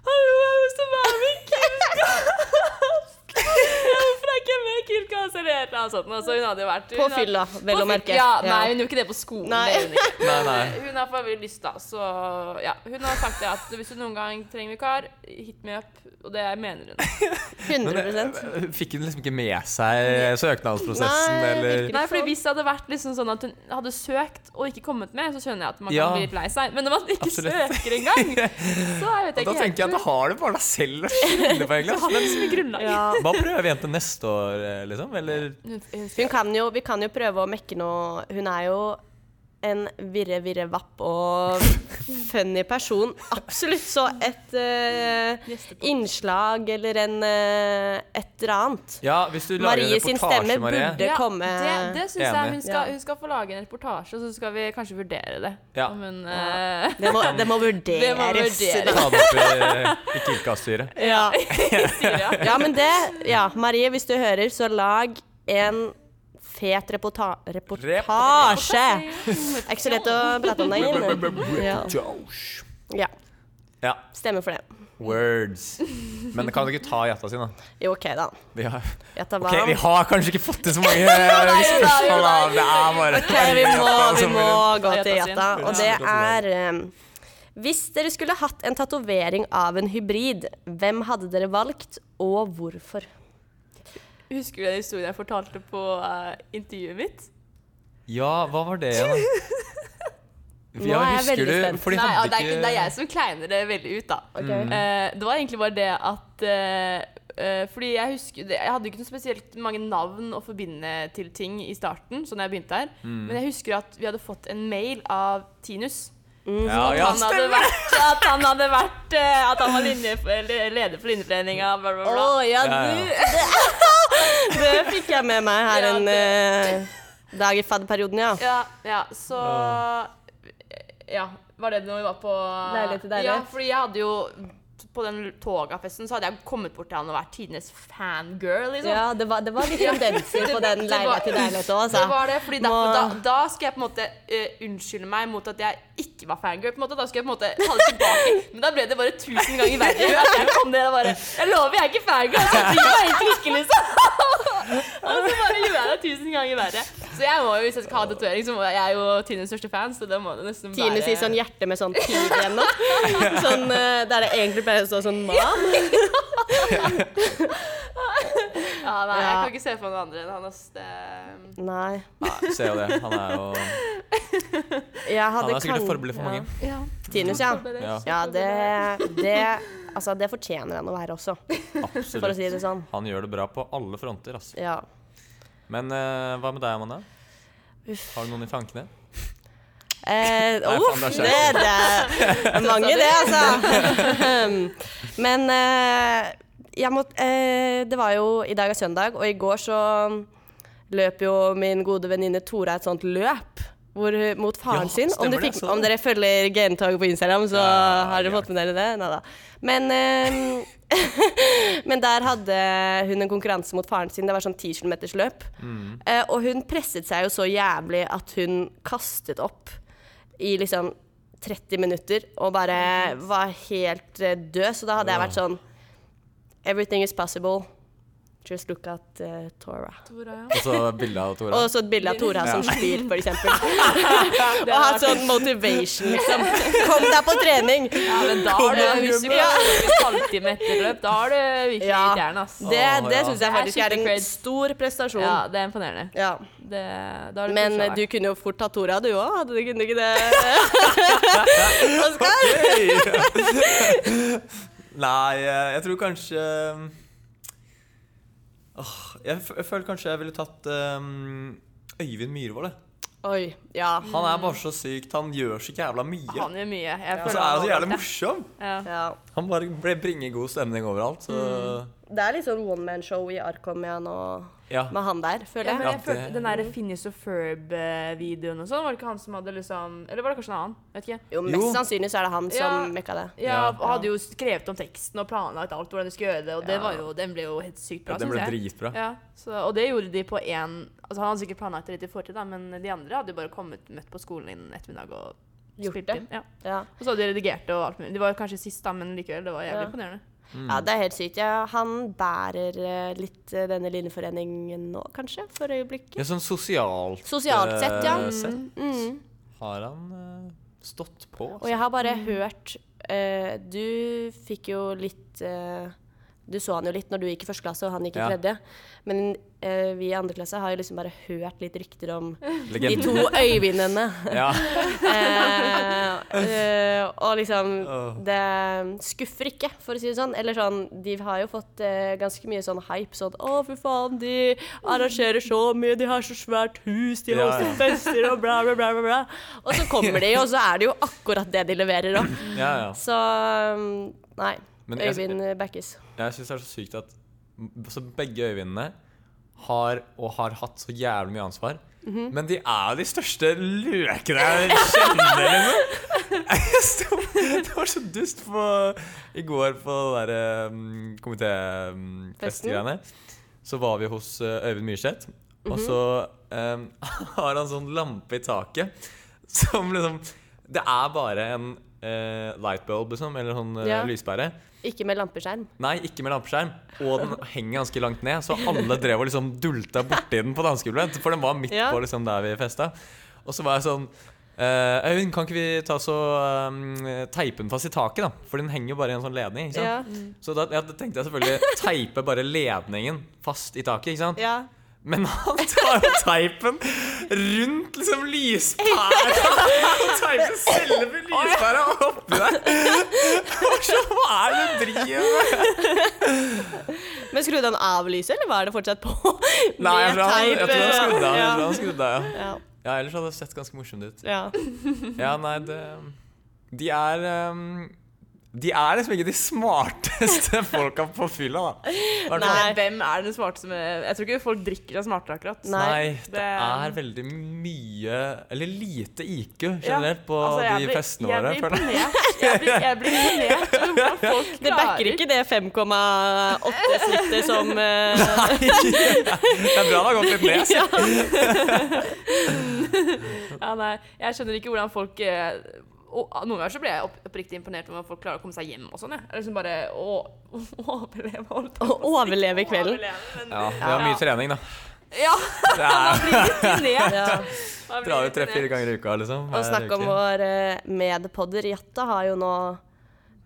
Speaker 2: Hallo, jeg har lyst til å være med i Killcast! Ja, Hvorfor er ikke jeg med i Killcast? Eller et eller annet sånt. Og Så hun hadde jo vært
Speaker 3: På
Speaker 2: hun hadde-
Speaker 3: fylla, vel å
Speaker 2: På
Speaker 3: merke.
Speaker 2: fylla. Ja, nei, hun gjorde ikke det på skolen.
Speaker 3: Nei.
Speaker 2: det gjorde hun ikke.
Speaker 1: Nei, nei.
Speaker 2: Hun har for øvrig lyst, da. Så ja. Hun har sagt det at hvis du noen gang trenger vikar, hit me up. Og det mener hun.
Speaker 3: 100
Speaker 1: Men, eh, fikk hun liksom ikke med seg eh, søknadsprosessen,
Speaker 3: Nei,
Speaker 1: eller
Speaker 3: virkelig.
Speaker 2: Nei, fordi Hvis det hadde vært liksom sånn at hun hadde søkt og ikke kommet med, så skjønner jeg at man
Speaker 1: Ja.
Speaker 2: kan bli litt lei seg. Men når man ikke
Speaker 1: Absolutt.
Speaker 2: søker engang, så vet jeg
Speaker 1: Da
Speaker 2: ikke
Speaker 1: tenker jeg at du har det bare deg selv å skylde på, egentlig.
Speaker 2: har liksom ikke grunnlag.
Speaker 3: Ja.
Speaker 1: Hva prøver jenta neste år, eh, liksom? Eller
Speaker 2: Hun, hun,
Speaker 3: Hun kan jo, vi kan jo prøve å mekke noe Hun er jo en virre, virre vapp og funny person. Absolutt. Så et eh,
Speaker 2: Gjestepodd.
Speaker 3: innslag eller en eh, et eller annet.
Speaker 1: Ja, hvis du lager
Speaker 3: Marie
Speaker 1: en
Speaker 3: sin
Speaker 1: reportasje,
Speaker 3: stemme burde-
Speaker 1: Marie.
Speaker 2: ja,
Speaker 3: komme-
Speaker 2: det, det syns jeg
Speaker 1: Enig.
Speaker 2: hun skal,
Speaker 3: Ja.
Speaker 2: hun skal få lage en reportasje, og så skal vi kanskje vurdere det.
Speaker 1: Ja.
Speaker 2: Om hun,
Speaker 3: Ja.
Speaker 2: eh,
Speaker 3: Det må, det må vurderes.
Speaker 2: Det må vurderes.
Speaker 1: Ta det opp i, i Killkast-styret.
Speaker 3: Ja.
Speaker 2: sier ja.
Speaker 3: ja, men det Ja, Marie, hvis du hører, så lag en fet reporta reportasje. Det er ikke så lett å prate om det igjen. Ja.
Speaker 1: Josh.
Speaker 3: ja.
Speaker 1: Ja.
Speaker 3: Stemmer for det.
Speaker 1: Words. Men kan du ikke ta jata si, da?
Speaker 3: Jo, OK, da.
Speaker 1: Vi har,
Speaker 3: Jeg tar hva?
Speaker 1: ok, vi har kanskje ikke fått til så mange eh,
Speaker 2: jo,
Speaker 1: spørsmål.
Speaker 2: nei.
Speaker 1: da. Det er bare
Speaker 3: Ok, vi må, vi må gå til
Speaker 2: Jata sin.
Speaker 3: Jata. Og det er em, Hvis dere skulle hatt en tatovering av en hybrid, hvem hadde dere valgt, og hvorfor?
Speaker 2: Husker du den historien jeg fortalte på eh, intervjuet mitt?
Speaker 1: Ja, hva var det igjen? da?
Speaker 3: Nå er jeg
Speaker 1: husker
Speaker 3: veldig
Speaker 1: du-
Speaker 3: spent.
Speaker 1: for de
Speaker 2: Nei, ja,
Speaker 1: hadde
Speaker 2: det, er, ikke- det er
Speaker 1: ikke- Mm.
Speaker 2: jeg som kleiner det veldig ut, da.
Speaker 3: Ok.
Speaker 2: Eh, det var egentlig bare det at eh, eh, Fordi jeg husker det- Jeg hadde ikke noe spesielt mange navn å forbinde til ting i starten, så når jeg begynte her.
Speaker 1: Mm.
Speaker 2: Men jeg husker at vi hadde fått en mail av Tinus.
Speaker 1: Ja,
Speaker 2: at,
Speaker 1: ja,
Speaker 2: han hadde vært, at han hadde vært eh, At han var linje, eller leder for Linjeforeninga, bla, bla,
Speaker 3: Å
Speaker 2: bla.
Speaker 3: ja,
Speaker 1: Ja,
Speaker 3: du Det fikk jeg med meg her
Speaker 2: Ja,
Speaker 3: en
Speaker 2: det-
Speaker 3: eh, dag i fadderperioden, ja.
Speaker 2: Ja, ja, så Ja, var det når vi var på
Speaker 3: Leilighet til
Speaker 2: Ja,
Speaker 3: leilighet.
Speaker 2: fordi jeg hadde jo På den togafesten så hadde jeg kommet bort til han og vært tidenes fangirl, liksom.
Speaker 3: Ja, det var, det var litt tendenser på
Speaker 2: Det var-
Speaker 3: den leilighet til leilighet
Speaker 2: Det
Speaker 3: òg, altså.
Speaker 2: var det, fordi derfor, da, da skal jeg på en måte eh, unnskylde meg mot at jeg ikke var fangirl. på en måte, Da skal jeg på en måte ta det tilbake. Men da ble det bare tusen ganger verre. At jeg kom ned og bare Jeg lover, jeg er ikke fangirl. altså. Jeg skal ikke være klikke, liksom. og så bare gjorde jeg det tusen ganger verre. Så jeg må jo, hvis jeg skal ha tatovering, så må jeg, jeg er jo Tines største fan, så det må det nesten
Speaker 3: Tine sier sånn hjerte med sånn tid igjennom. Sånn, eh, der det egentlig pleier å stå sånn mam.
Speaker 2: Ja, nei, jeg
Speaker 3: Ja.
Speaker 2: kan ikke se for meg noen andre enn han, ass. Det...
Speaker 3: Nei.
Speaker 1: Nei, ser jo det. Han er jo
Speaker 3: Jeg
Speaker 1: Han
Speaker 3: hadde
Speaker 1: er sikkert et
Speaker 3: kan-
Speaker 1: forbilde for
Speaker 3: ja.
Speaker 1: mange.
Speaker 2: Ja.
Speaker 3: Tinus, ja.
Speaker 1: Ja.
Speaker 3: Ja, det, det Altså, det fortjener han å være også, for å si
Speaker 1: Absolutt.
Speaker 3: det sånn.
Speaker 1: Han gjør det bra på alle fronter, altså.
Speaker 3: Ja.
Speaker 1: Men eh, hva med deg, Amanda?
Speaker 3: Uff.
Speaker 1: Har du noen i tankene?
Speaker 3: Eh,
Speaker 1: Nei,
Speaker 3: uff,
Speaker 1: faen, det
Speaker 3: det,
Speaker 1: er
Speaker 3: det er mange, det, altså. Men eh, jeg må eh, Det var jo I dag er søndag, og i går så løp jo min gode venninne Tora et sånt løp. Hvor, hun- mot faren
Speaker 1: Ja,
Speaker 3: sin. Om, du
Speaker 1: stemmer det,
Speaker 3: fikk,
Speaker 1: jeg så
Speaker 3: om
Speaker 1: det.
Speaker 3: dere følger Gentoget på Instagram, så
Speaker 1: Ja,
Speaker 3: har dere
Speaker 1: ja.
Speaker 3: fått med dere det. Neida. Men eh, Men der hadde hun en konkurranse mot faren sin. Det var sånn 10 km løp. Eh, og hun presset seg jo så jævlig at hun kastet opp i liksom 30 minutter og bare var helt eh, død. Så da hadde jeg vært sånn Everything is possible. Just look at eh, Tora.
Speaker 2: Tora, ja.
Speaker 1: Og så bilde Altså, av Tora.
Speaker 3: Og så et bilde av Tora som spyr, for eksempel.
Speaker 2: Det
Speaker 3: Og ha
Speaker 2: var-
Speaker 3: sånn motivation, liksom. Kom deg på trening!
Speaker 2: Ja, men da har
Speaker 3: Kommer
Speaker 2: du Hvis du
Speaker 3: Ja.
Speaker 2: klarer en halvtime etter løp, da har du virkelig
Speaker 3: Ja.
Speaker 2: gitt jern, ass.
Speaker 3: Det, det
Speaker 1: ja.
Speaker 3: syns jeg faktisk
Speaker 2: Det er
Speaker 3: er en
Speaker 2: skikkelig cred.
Speaker 3: stor prestasjon.
Speaker 2: Ja, det er imponerende.
Speaker 3: Ja.
Speaker 2: Det, da har du
Speaker 3: Men
Speaker 2: pushet deg.
Speaker 3: du kunne jo fort tatt Tora, du òg. Hadde du kunne ikke det? Oskar?
Speaker 1: Nei, eh, jeg tror kanskje Åh, jeg, f jeg føler kanskje jeg ville tatt eh, Øyvind Myhrvold, det.
Speaker 3: Oi, ja.
Speaker 1: Han er bare så sykt. Han gjør så jævla mye.
Speaker 2: Han gjør mye. Jeg
Speaker 1: Og
Speaker 2: føler
Speaker 1: så Altså, er han så
Speaker 2: han
Speaker 1: jævlig
Speaker 2: overalt,
Speaker 1: morsom.
Speaker 2: ja. Ja.
Speaker 3: ja.
Speaker 1: Han bare ble- bringer god stemning overalt. Så
Speaker 3: Det er litt sånn one man show i Arkom igjen og
Speaker 1: ja.
Speaker 3: med han der, føler
Speaker 2: Ja,
Speaker 3: jeg.
Speaker 2: men jeg
Speaker 1: det-
Speaker 2: følte Den der Phineas og Ferb-videoen og sånn, var det ikke han som hadde liksom Eller var det kanskje en annen? Vet ikke.
Speaker 3: Jo, mest
Speaker 1: Jo.
Speaker 3: sannsynlig så er det han
Speaker 2: Ja.
Speaker 3: som mekka det.
Speaker 2: Ja,
Speaker 1: Ja.
Speaker 2: Hadde jo skrevet om teksten og planlagt alt hvordan de skulle gjøre det, og det var jo, den ble jo helt sykt bra,
Speaker 1: Den
Speaker 2: synes
Speaker 1: ble
Speaker 2: jeg.
Speaker 1: dritbra.
Speaker 2: Ja, så, og det gjorde de på én Altså Han hadde sikkert planlagt det litt i fortid, da, men de andre hadde jo bare kommet møtt på skolen innen ettermiddag og
Speaker 3: Gjort
Speaker 2: spilt
Speaker 3: det?
Speaker 2: inn. Ja.
Speaker 3: Ja.
Speaker 2: Og så hadde de redigert det og alt mulig. De var jo kanskje sist, da, men likevel. Det var jævlig
Speaker 3: Ja.
Speaker 2: imponerende.
Speaker 1: Mm.
Speaker 3: ja, det er helt sykt. Ja, han bærer eh, litt eh, denne Linjeforeningen nå, kanskje, for øyeblikket.
Speaker 1: Ja, sånn sosialt
Speaker 3: Sosialt sett, ja.
Speaker 1: eh, sett
Speaker 3: Mm.
Speaker 1: har han eh, stått på.
Speaker 3: Og jeg har bare hørt eh, Du fikk jo litt eh, Du så han jo litt når du gikk i første klasse, og han gikk i
Speaker 1: Ja.
Speaker 3: tredje. Men eh, vi i andre klasse har jo liksom bare hørt litt rykter om de
Speaker 1: Legenden.
Speaker 3: to øyvindene.
Speaker 1: Ja.
Speaker 3: Eh, eh, og liksom
Speaker 1: Åh.
Speaker 3: Det skuffer ikke, for å si det sånn. Eller sånn, de har jo fått eh, ganske mye sånn hype. Sånn 'Å, fy faen, de arrangerer så mye, de har så svært hus, de
Speaker 1: Ja,
Speaker 3: hoster
Speaker 1: ja.
Speaker 3: fester og bla, bla, bla, bla, bla'. Og så kommer de, og så er det jo akkurat det de leverer òg.
Speaker 1: ja, ja.
Speaker 3: Så um, nei.
Speaker 1: Men jeg-
Speaker 3: Øyvind backes.
Speaker 1: Jeg syns det er så sykt at m- så begge øyevindene har og har hatt så jævlig mye ansvar. Men de er jo de største løkene jeg kjenner, liksom. Jeg sto- Det var så dust på, i går på det derre um, komitéfestgreiene. Så var vi hos eh, Øyvind Myrseth, og så em, har han sånn lampe i taket som liksom Det er bare en eh, lightbulb, liksom, eller sånn eh,
Speaker 3: Ja.
Speaker 1: lyspære.
Speaker 3: Ikke med lampeskjerm.
Speaker 1: Nei, ikke med lampeskjerm. Og den henger ganske langt ned, så alle drev og liksom dulta borti den på dansegulvet. For den var midt
Speaker 3: Ja.
Speaker 1: på liksom der vi festa. Og så var jeg sånn eh, Øyvind, kan ikke vi ta så eh, teipe den fast i taket, da? For den henger jo bare i en sånn ledning. Ikke sant?
Speaker 3: Ja.
Speaker 1: Så da ja, da tenkte jeg selvfølgelig teipe bare ledningen fast i taket, ikke sant?
Speaker 3: Ja.
Speaker 1: Men han tar jo teipen rundt liksom lyspæra. Og teiper selve lyspæra oppi der. Og så hva er det du driver med?
Speaker 3: Men skrudde han av lyset, eller var det fortsatt på?
Speaker 1: Nei, jeg
Speaker 3: Med
Speaker 1: tror han,
Speaker 3: teip,
Speaker 1: jeg tror han
Speaker 3: eh,
Speaker 1: skrudde av. Jeg
Speaker 3: ja.
Speaker 1: tror han skrudde av, ja. Mhm.
Speaker 3: Ja.
Speaker 1: ja, ellers hadde det sett ganske morsomt ut.
Speaker 3: Ja.
Speaker 1: Ja, nei, det De er ehm, De er liksom ikke de smarteste folka på fylla, da. sånn- I hvert fall.
Speaker 3: Nei.
Speaker 2: Hvem er den smarteste med Jeg tror ikke folk drikker seg smartere, akkurat.
Speaker 3: Nei.
Speaker 1: Nei,
Speaker 2: Det-
Speaker 1: det er veldig mye Eller lite IQ generelt på
Speaker 2: Ja, altså, jeg
Speaker 1: de
Speaker 2: blir-
Speaker 1: festene våre.
Speaker 2: Jeg blir
Speaker 1: føler jeg.
Speaker 2: imponert. Jeg blir, jeg blir imponert over hvordan folk klarer
Speaker 3: Det backer ikke det 5,8-snittet som eh,
Speaker 1: Det er bra det har gått litt ned.
Speaker 3: ja.
Speaker 2: Ja, nei, jeg skjønner ikke hvordan folk eh, og, ah, Noen ganger så blir jeg opp, oppriktig imponert over hvordan folk klarer å komme seg hjem og sånn. jeg. Eller liksom bare å, å, overleve. holdt jeg
Speaker 3: Å
Speaker 2: på å si.
Speaker 3: overleve kvelden.
Speaker 2: Overleve, men,
Speaker 1: Ja, vi har mye trening, da.
Speaker 2: ja.
Speaker 1: Det er,
Speaker 2: Ned.
Speaker 3: Ja.
Speaker 2: Man blir
Speaker 1: drar
Speaker 2: litt
Speaker 1: ut tre-fire
Speaker 2: ned.
Speaker 1: ganger i uka, liksom.
Speaker 3: Og
Speaker 1: hver
Speaker 3: snakk om
Speaker 1: uke.
Speaker 3: vår eh, medpodder Jatta har jo nå i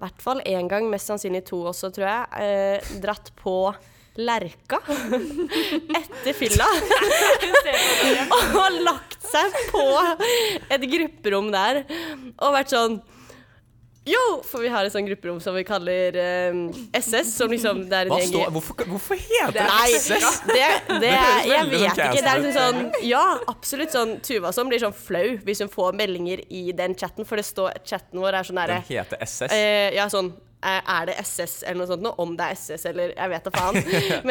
Speaker 3: hvert fall én gang, mest sannsynlig to også, tror jeg, eh, dratt på Lerka etter fylla og lagt seg på et grupperom der og vært sånn Yo! For vi har et sånt grupperom som vi kaller eh, SS, som liksom det er en
Speaker 1: Hva
Speaker 3: gjeng i-
Speaker 1: står Hvorfor, hvorfor heter det
Speaker 3: Nei, det,
Speaker 1: SS?
Speaker 3: det
Speaker 1: høres
Speaker 3: Jeg
Speaker 1: veldig sånn
Speaker 3: vet ikke. Det er
Speaker 1: casual
Speaker 3: liksom sånn Ja, absolutt sånn Tuva som blir sånn flau hvis hun får meldinger i den chatten, for det står chatten vår er sånn herre
Speaker 1: Den heter SS.
Speaker 3: eh, Ja, sånn eh, er det SS eller noe sånt nå? Om det er SS eller Jeg vet da faen.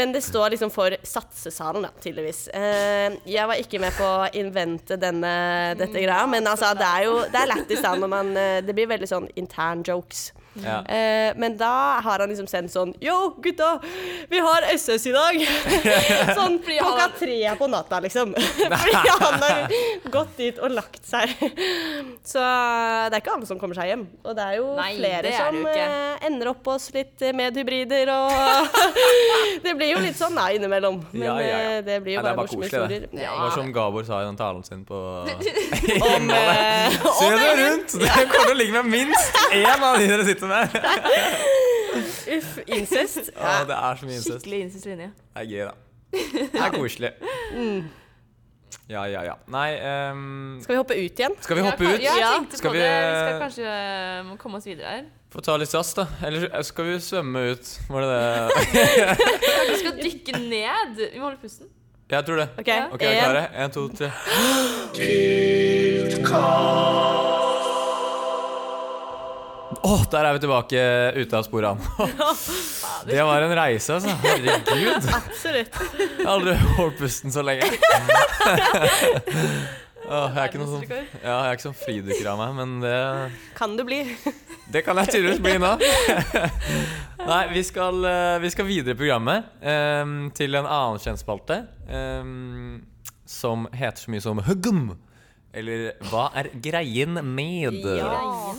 Speaker 3: Men det står liksom for Satsesalen, da, tydeligvis. Eh, jeg var ikke med på å invente denne, dette greia, men altså, det er jo Det er lættis da når man eh, Det blir veldig sånn intern jokes.
Speaker 1: Ja.
Speaker 3: Eh, men da har han liksom sendt sånn Yo, gutta! Vi har SS i dag! sånn klokka tre på natta, liksom. Fordi han har gått dit og lagt seg. Så det er ikke alle som kommer seg hjem. Og det er jo
Speaker 2: Nei, det
Speaker 3: flere
Speaker 2: er
Speaker 3: som
Speaker 2: det jo ikke.
Speaker 3: eh, ender opp hos litt eh, medhybrider og Det blir jo litt sånn da innimellom. Men
Speaker 1: Ja, ja, ja.
Speaker 3: eh, det blir jo
Speaker 1: Nei, det er
Speaker 3: bare
Speaker 1: bare
Speaker 3: morsomme
Speaker 1: koselig, det.
Speaker 3: historier.
Speaker 1: Det var som Gabor sa i den talen sin på
Speaker 3: Om, eh,
Speaker 1: Se deg rundt! Dere kommer til å ligge med minst én av de dere sitter med.
Speaker 3: uff, incest.
Speaker 1: Å, det er så mye incest.
Speaker 2: Skikkelig incest linje.
Speaker 1: Det er gøy, da. Det er koselig.
Speaker 2: Mm.
Speaker 1: Ja, ja, ja. Nei ehm,
Speaker 3: Skal vi hoppe ut igjen?
Speaker 1: Skal vi hoppe ut?
Speaker 2: Ja, jeg
Speaker 3: Ja.
Speaker 2: tenkte
Speaker 1: Skal
Speaker 2: på
Speaker 1: vi-
Speaker 2: det. Vi skal kanskje eh, må komme oss videre her.
Speaker 1: Få ta litt SAS, da. Eller skal vi svømme ut? Var det det?
Speaker 2: Kanskje vi skal dykke ned. Vi må holde pusten.
Speaker 1: Jeg tror det.
Speaker 3: OK,
Speaker 1: Ok, er vi
Speaker 3: en.
Speaker 1: klare? En, to, tre. Åh, der er vi tilbake ute av sporene. Det var en reise, altså. Herregud.
Speaker 3: Absolutt.
Speaker 1: Jeg har aldri holdt pusten så lenge. Åh, jeg er ikke noe sånn
Speaker 2: Verdensrekord.
Speaker 1: ja, Jeg er ikke sånn fridykker av meg, men det,
Speaker 3: Kan det bli?
Speaker 1: det kan jeg tydeligvis bli nå. Nei, vi skal, eh, vi skal videre i programmet eh, til en annen kjent spalte eh, som heter så mye som Huggum. Eller Hva er greien med?
Speaker 3: Ja.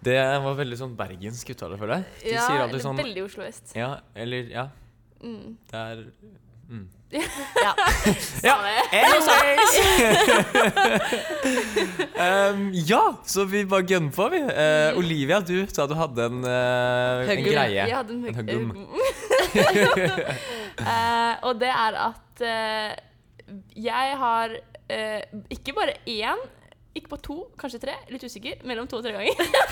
Speaker 1: Det var veldig sånn bergensk uttale, føler jeg. De
Speaker 2: Ja,
Speaker 1: sier
Speaker 2: eller
Speaker 1: alltid sånn
Speaker 2: veldig Oslo øst.
Speaker 1: Ja, eller Ja.
Speaker 2: Mm.
Speaker 1: Det er mm.
Speaker 3: Ja.
Speaker 1: Ja,
Speaker 2: det.
Speaker 1: um, ja, så vi bare gønner på, vi.
Speaker 2: Mm.
Speaker 1: Eh, Olivia, du sa du hadde en, eh, en
Speaker 3: Høggum.
Speaker 1: greie.
Speaker 2: Jeg hadde en
Speaker 1: En sånn
Speaker 2: hugg-
Speaker 1: huggum.
Speaker 2: Eh, og det er at eh, jeg har eh, ikke bare én, ikke på to, kanskje tre, litt usikker, mellom to og tre ganger.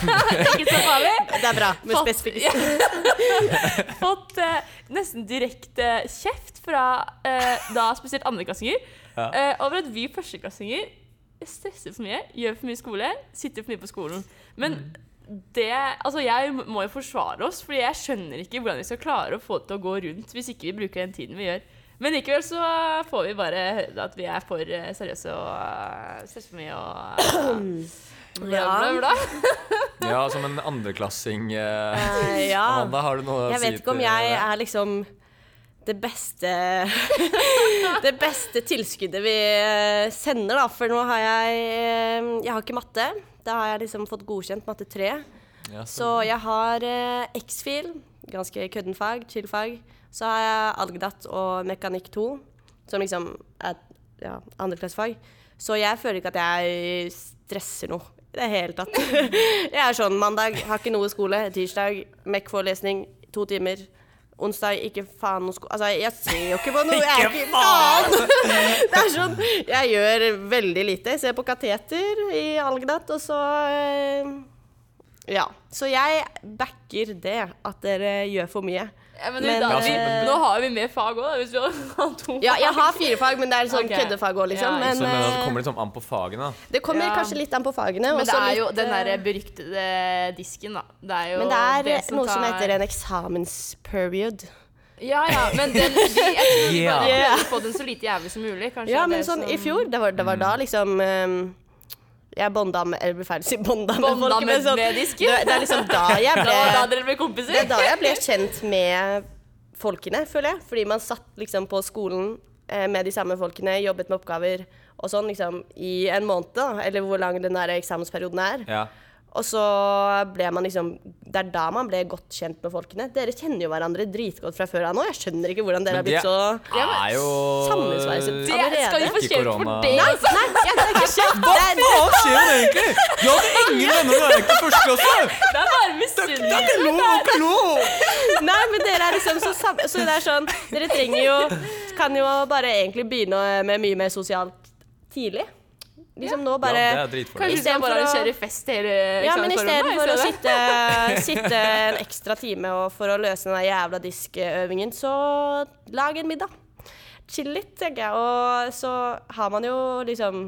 Speaker 2: ikke så farlig.
Speaker 3: Det er bra. Med
Speaker 2: Fått-
Speaker 3: spesifikt.
Speaker 2: Fått eh, nesten direkte kjeft fra eh, da spesielt andreklassinger
Speaker 1: Ja.
Speaker 2: eh, over at vi førsteklassinger stresser for mye, gjør for mye skole, sitter for mye på skolen. Men det Altså, jeg må jo forsvare oss, Fordi jeg skjønner ikke hvordan vi skal klare å få det til å gå rundt hvis ikke vi bruker den tiden vi gjør. Men likevel så får vi bare høre at vi er for eh, seriøse og eh, stresser for mye og bla, bla, bla.
Speaker 1: Ja, som en andreklassing. eh,
Speaker 3: Eh, ja.
Speaker 1: Amanda, har du noe
Speaker 3: Jeg
Speaker 1: å si
Speaker 3: vet ikke om
Speaker 1: til-
Speaker 3: jeg er liksom det beste Det beste tilskuddet vi eh, sender, da. For nå har jeg eh, Jeg har ikke matte. Da har jeg liksom fått godkjent matte 3.
Speaker 1: ja,
Speaker 3: Så jeg har eh, X-fil, ganske kødden fag, chill fag. Så har jeg algdat og mekanikk 2, som liksom er ja, andreklassefag. Så jeg føler ikke at jeg stresser noe i det hele tatt. jeg er sånn mandag, har ikke noe skole. Tirsdag, MEC-forelesning, to timer. Onsdag, ikke faen noe sko... Altså, jeg ser jo ikke på noe. Jeg er ikke faen! Det er sånn, jeg gjør veldig lite. Jeg ser på kateter i algdat, og så eh, ja, så jeg backer det at dere gjør for mye.
Speaker 2: Ja, men,
Speaker 3: Men,
Speaker 2: da, vi,
Speaker 3: eh,
Speaker 2: nå har vi mer fag òg, hvis vi har to
Speaker 3: Ja, jeg har fire fag, men det er sånn
Speaker 2: Ok.
Speaker 3: køddefag òg, liksom.
Speaker 2: Ja,
Speaker 1: så,
Speaker 3: Men,
Speaker 1: men det
Speaker 3: eh,
Speaker 1: kommer liksom an på fagene. da.
Speaker 3: det kommer
Speaker 2: Ja.
Speaker 3: kanskje litt an på fagene.
Speaker 2: Men det
Speaker 3: også
Speaker 2: er jo
Speaker 3: litt,
Speaker 2: den
Speaker 3: eh,
Speaker 2: der beryktede disken, da. Det er jo
Speaker 3: men det er eh,
Speaker 2: det
Speaker 3: noe som
Speaker 2: tar-
Speaker 3: heter en eksamensperiod.
Speaker 2: Ja, ja, men den, de, jeg tror vi bare
Speaker 1: Yeah.
Speaker 2: prøver å få den så lite jævlig som mulig. Kanskje
Speaker 3: Ja,
Speaker 2: det
Speaker 3: men
Speaker 2: er
Speaker 3: sånn
Speaker 2: som-
Speaker 3: i fjor, det var, det var da liksom eh, jeg bonda med Eller blir ferdig å si bonda med
Speaker 2: Bonda
Speaker 3: folk, men
Speaker 2: med-
Speaker 3: sånn-
Speaker 2: med disken.
Speaker 3: Det, det er liksom da jeg
Speaker 2: Da var da
Speaker 3: ble
Speaker 2: dere ble kompiser?
Speaker 3: Det er da jeg ble kjent med folkene, føler jeg. Fordi man satt liksom på skolen eh, med de samme folkene, jobbet med oppgaver og sånn liksom i en måned, da, eller hvor lang den der eksamensperioden er.
Speaker 1: Ja.
Speaker 3: Og så ble man liksom Det er da man ble godt kjent med folkene. Dere kjenner jo hverandre dritgodt fra før av nå. Jeg skjønner ikke hvordan dere
Speaker 1: Men
Speaker 3: har blitt
Speaker 1: det
Speaker 3: så
Speaker 1: er jo
Speaker 3: Sammensveiset.
Speaker 2: Det skal vi få
Speaker 1: Ikke
Speaker 2: kjeft for
Speaker 1: korona.
Speaker 2: det.
Speaker 3: Nei,
Speaker 2: altså.
Speaker 3: nei, jeg det er ikke kjent. Det er-
Speaker 1: Hva skjer det egentlig? Jeg hadde ingen venner da jeg gikk i første klasse!
Speaker 2: Det er bare
Speaker 1: Det er
Speaker 2: misunnelig.
Speaker 1: ikke lov! Det er ikke lov!
Speaker 3: Nei, men dere er liksom så sam- Så det er sånn Dere trenger jo Kan jo bare egentlig begynne med mye mer sosialt tidlig. Liksom nå bare
Speaker 1: Ja, det er dritfordel.
Speaker 2: Kanskje vi skal
Speaker 3: Istedenfor
Speaker 2: bare
Speaker 3: å-
Speaker 2: arrangere fest hele
Speaker 3: Ja,
Speaker 2: eksamensformen,
Speaker 3: men istedenfor å
Speaker 2: stedet.
Speaker 3: sitte, sitte en ekstra time og for å løse den der jævla diskøvingen, så lag en middag. Chill litt, tenker jeg. Og så har man jo liksom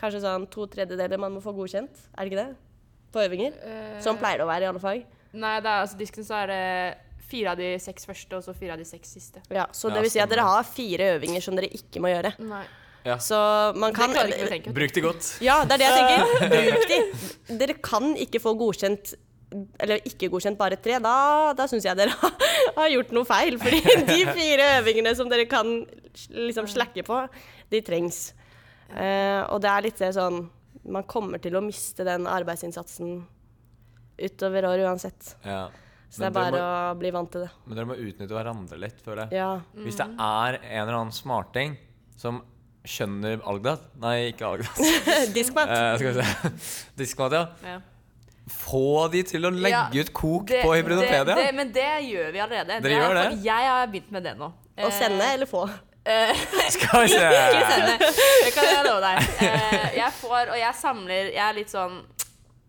Speaker 3: kanskje sånn to tredjedeler man må få godkjent, er det ikke det? På øvinger. Som pleier det å være i alle fag.
Speaker 2: Nei, det er altså disken, så er det fire av de seks første, og så fire av de seks siste.
Speaker 3: Ja, så
Speaker 1: Ja,
Speaker 3: det vil si at dere
Speaker 1: stemmer.
Speaker 3: har fire øvinger som dere ikke må gjøre.
Speaker 2: Nei.
Speaker 3: Så man
Speaker 2: Det
Speaker 3: kan
Speaker 2: klarer ikke vi å tenke.
Speaker 1: Bruk det godt.
Speaker 3: Ja, det er det jeg tenker. Bruk de. Dere kan ikke få godkjent eller ikke godkjent bare tre. Da, da syns jeg dere har gjort noe feil. Fordi de fire øvingene som dere kan liksom slakke på, de trengs. Eh, og det er litt det sånn Man kommer til å miste den arbeidsinnsatsen utover året uansett.
Speaker 1: Ja.
Speaker 3: Så det er
Speaker 1: dere
Speaker 3: bare
Speaker 1: må,
Speaker 3: å bli vant til det.
Speaker 1: men dere må utnytte hverandre litt, føler jeg.
Speaker 3: Ja.
Speaker 1: Hvis det er en eller annen smarting som skjønner Algdat Nei, ikke Algdat.
Speaker 3: Diskmat.
Speaker 1: Eh, skal vi se. Diskmat, ja.
Speaker 2: Ja.
Speaker 1: Få de til å legge
Speaker 2: Ja,
Speaker 1: ut kok på
Speaker 2: det- det-
Speaker 1: hybridopedia.
Speaker 2: Men det gjør vi allerede. Det
Speaker 1: gjør
Speaker 2: er-
Speaker 1: det?
Speaker 2: Jeg har begynt med det nå.
Speaker 3: Å sende eller få.
Speaker 1: Skal vi se.
Speaker 2: Ikke sende. Det kan jeg love deg. Eh, Jeg får, og jeg samler Jeg er litt sånn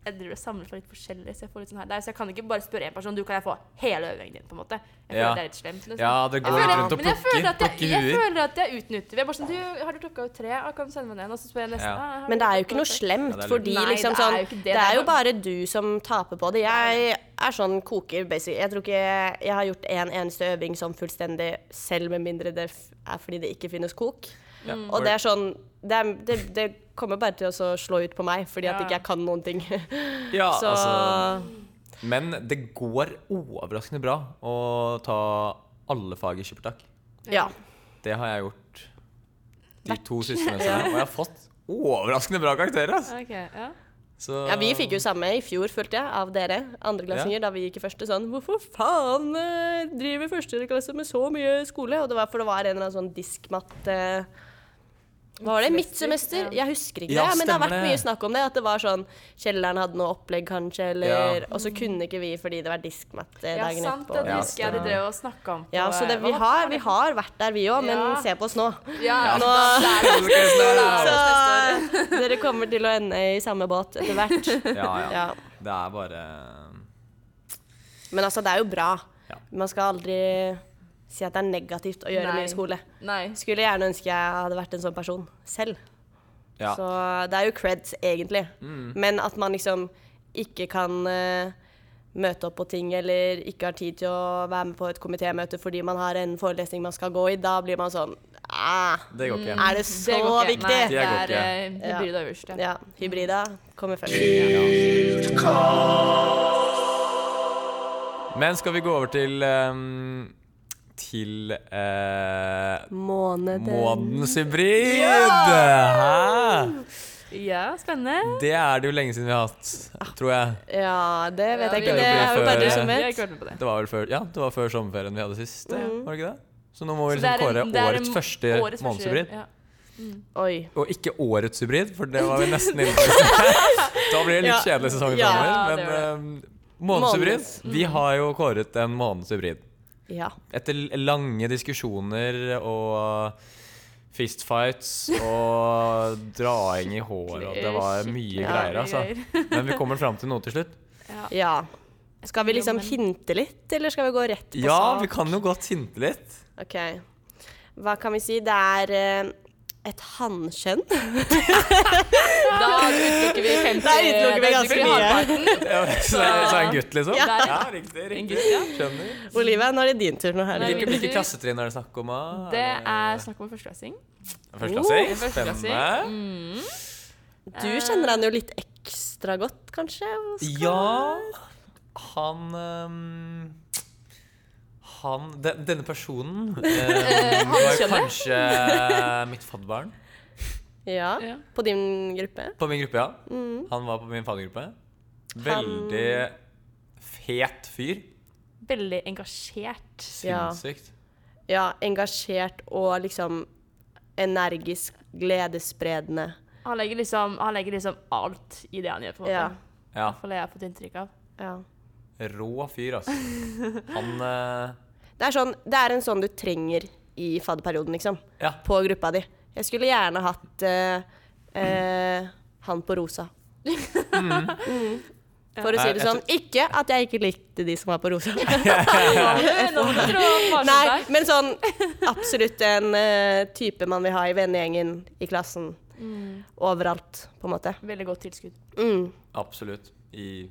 Speaker 2: jeg driver og samler for litt forskjellig, så jeg får litt sånn her der. Så jeg kan ikke bare spørre én person. Du, kan jeg få hele øvingen din, på en måte? Jeg føler
Speaker 1: Ja.
Speaker 2: at det er litt slemt. liksom.
Speaker 1: Ja, det går
Speaker 2: Jeg
Speaker 1: litt
Speaker 2: føler,
Speaker 1: rundt og
Speaker 2: men jeg føler
Speaker 1: plukker,
Speaker 2: at jeg,
Speaker 1: plukker
Speaker 2: jeg,
Speaker 1: huer.
Speaker 2: føler at jeg utnytter Jeg er bare sånn, du, Har du plukka ut tre? Ja, kan du sende meg den? Og så spør jeg neste.
Speaker 1: Ja.
Speaker 2: «Ah, har du
Speaker 3: Men det er
Speaker 2: plukket
Speaker 3: jo ikke noe
Speaker 2: ut tre?»
Speaker 1: Ja,
Speaker 3: slemt,
Speaker 1: det er lurt.
Speaker 3: fordi
Speaker 2: Nei, det
Speaker 3: liksom
Speaker 2: er
Speaker 3: sånn
Speaker 2: jo ikke det.
Speaker 3: Det
Speaker 2: Det er
Speaker 3: er jo
Speaker 2: bare-
Speaker 3: bare du som taper på det. Jeg er sånn koker, basic. Jeg tror ikke jeg har gjort en eneste øving sånn fullstendig selv, med mindre det f- er fordi det ikke finnes kok.
Speaker 1: Ja.
Speaker 2: Mm.
Speaker 3: Og det er sånn Det, er, det, det kommer bare til å så slå ut på meg, fordi at
Speaker 2: Ja.
Speaker 3: ikke jeg kan noen ting.
Speaker 1: Ja,
Speaker 3: Så
Speaker 1: altså Men det går overraskende bra å ta alle fag i skippertak.
Speaker 3: ja.
Speaker 1: Det har jeg gjort de to siste mesterne, og jeg har fått overraskende bra karakterer. Altså.
Speaker 2: Ok, ja.
Speaker 1: Så
Speaker 3: ja. Vi fikk jo
Speaker 1: Ehm.
Speaker 3: samme i fjor, følte jeg, av dere andreklassinger, da vi gikk i første. Sånn Hvorfor faen eh, driver førsteklasse med så mye skole? Og det var for det var en eller annen sånn diskmatt eh, Hva var det? Midtsemester?
Speaker 2: Ja.
Speaker 3: Jeg husker ikke
Speaker 1: Ja,
Speaker 3: det, men det har
Speaker 1: stemmer
Speaker 3: vært
Speaker 1: det.
Speaker 3: mye snakk om det. At det var sånn Kjelleren hadde noe opplegg, kanskje, eller
Speaker 1: Ja.
Speaker 3: Og så kunne ikke vi fordi det var diskmatt eh,
Speaker 2: ja,
Speaker 3: dagen
Speaker 2: sant.
Speaker 3: etterpå.
Speaker 2: Det
Speaker 1: Ja,
Speaker 2: husker jeg de
Speaker 1: stemmer.
Speaker 2: drev og snakka om. på-
Speaker 3: Ja, så det, vi,
Speaker 2: Hva
Speaker 3: har,
Speaker 2: var
Speaker 3: vi
Speaker 2: det?
Speaker 3: har vært der, vi òg, men
Speaker 2: Ja.
Speaker 3: se på oss nå.
Speaker 2: Ja,
Speaker 1: Ja.
Speaker 2: nå
Speaker 3: Så dere kommer til å ende i samme båt etter hvert.
Speaker 1: ja, ja.
Speaker 3: Ja.
Speaker 1: Det er bare
Speaker 3: Men altså, det er jo bra.
Speaker 1: Ja.
Speaker 3: Man skal aldri si at det er negativt å gjøre
Speaker 2: Nei.
Speaker 3: mye skole.
Speaker 2: Nei.
Speaker 3: Skulle gjerne ønske jeg hadde vært en sånn person selv.
Speaker 1: Ja. Mm.
Speaker 3: Så det er jo creds, egentlig. Men at man liksom ikke kan eh, møte opp på ting eller ikke har tid til å være med på et komitémøte fordi man har en forelesning man skal gå i, da blir man sånn ah,
Speaker 1: Det går ikke.
Speaker 3: Er det så
Speaker 2: Mm, går ikke.
Speaker 3: viktig?
Speaker 2: Nei,
Speaker 1: Det
Speaker 2: det
Speaker 1: går
Speaker 2: er
Speaker 1: ikke.
Speaker 2: eh, det
Speaker 3: Ja.
Speaker 2: blir det øverste.
Speaker 3: Ja, hybrida kommer først. Mm.
Speaker 1: Men skal vi gå over til ehm, Til eh,
Speaker 3: Måneden.
Speaker 1: månedens hybrid? Hæ?
Speaker 2: Ja, spennende.
Speaker 1: Det er det jo lenge siden vi har hatt, tror jeg.
Speaker 3: Ja, det vet jeg ikke.
Speaker 1: det
Speaker 3: Det
Speaker 1: ble
Speaker 3: er jo
Speaker 1: før-
Speaker 3: bare du
Speaker 2: Vi
Speaker 3: som
Speaker 2: har
Speaker 3: vet.
Speaker 2: ikke vært med på det.
Speaker 1: Det var vel før, ja, det var før sommerferien vi hadde sist. Det, var det ikke det? Så nå må vi
Speaker 2: Mm. Så det
Speaker 1: liksom
Speaker 2: er en-
Speaker 1: kåre
Speaker 2: det er en-
Speaker 1: årets første månedshybrid.
Speaker 2: Ja.
Speaker 3: Oi.
Speaker 1: Og ikke årets hybrid, for det var vi nesten inne på. i sted. da blir det litt
Speaker 3: Ja.
Speaker 1: kjedelig sesong
Speaker 3: Ja,
Speaker 1: framover.
Speaker 2: det mm.
Speaker 1: Men eh, månedshybrid Vi har jo kåret en månedshybrid.
Speaker 3: Ja.
Speaker 1: Etter l- lange diskusjoner og fistfights og draing i håret og det var mye
Speaker 2: Skikkelig
Speaker 1: greier,
Speaker 2: mye
Speaker 1: altså. Men vi kommer fram til noe til slutt.
Speaker 3: ja. Skal vi liksom hinte litt, eller skal vi gå rett på
Speaker 1: Ja, vi
Speaker 3: sak?
Speaker 1: kan jo godt hinte litt.
Speaker 3: Ok. Hva kan vi si? Det er eh, et hannkjønn.
Speaker 2: Da utelukker vi 50
Speaker 3: Da utelukker vi
Speaker 2: utelukker
Speaker 3: ganske
Speaker 2: vi
Speaker 3: mye.
Speaker 2: halvparten.
Speaker 1: Ja, Så det er så er det en gutt, liksom?
Speaker 2: Ja.
Speaker 1: riktig.
Speaker 2: En gutt, ja.
Speaker 1: Skjønner.
Speaker 3: Olivia, nå er det din tur. nå her.
Speaker 2: Nei,
Speaker 1: Hvilke,
Speaker 2: men-
Speaker 1: hvilke klassetrinn er det snakk om? ah?
Speaker 2: Det er snakk om en førsteklassing.
Speaker 1: Førsteklassing?
Speaker 2: Oh, førsteklassing.
Speaker 1: Spennende.
Speaker 3: Du
Speaker 2: eh,
Speaker 3: kjenner han jo litt ekstra godt, kanskje?
Speaker 1: Ja, han ehm, Han de, Denne personen
Speaker 2: Eh,
Speaker 1: ehm, var kanskje eh, mitt fadderbarn
Speaker 3: Ja.
Speaker 2: Ja.
Speaker 3: På din gruppe?
Speaker 1: på min gruppe, ja. Han var på min faddergruppe. Veldig fet fyr.
Speaker 2: Veldig engasjert.
Speaker 3: Ja.
Speaker 1: Sinnssykt.
Speaker 3: Ja, engasjert og liksom energisk, gledesspredende.
Speaker 2: Han legger liksom, han legger liksom alt i det han gjør, på en måte.
Speaker 3: Ja.
Speaker 1: Ja.
Speaker 2: For det har jeg fått inntrykk av.
Speaker 3: ja.
Speaker 1: Rå fyr, altså. Han eh,
Speaker 3: Det er, sånn, det er en sånn du trenger i fadderperioden, liksom.
Speaker 1: Ja.
Speaker 3: På gruppa di. Jeg skulle gjerne hatt eh, eh, han på rosa. Mm. For å
Speaker 1: Ja.
Speaker 3: si det
Speaker 1: Nei,
Speaker 3: sånn. Ikke at jeg ikke likte de som var på rosa.
Speaker 2: Nå må dere ha
Speaker 3: Nei,
Speaker 2: deg.
Speaker 3: men sånn absolutt en eh, type man vil ha i vennegjengen, i klassen. Overalt, på en måte.
Speaker 2: Veldig godt tilskudd.
Speaker 3: Mm.
Speaker 1: Absolutt. I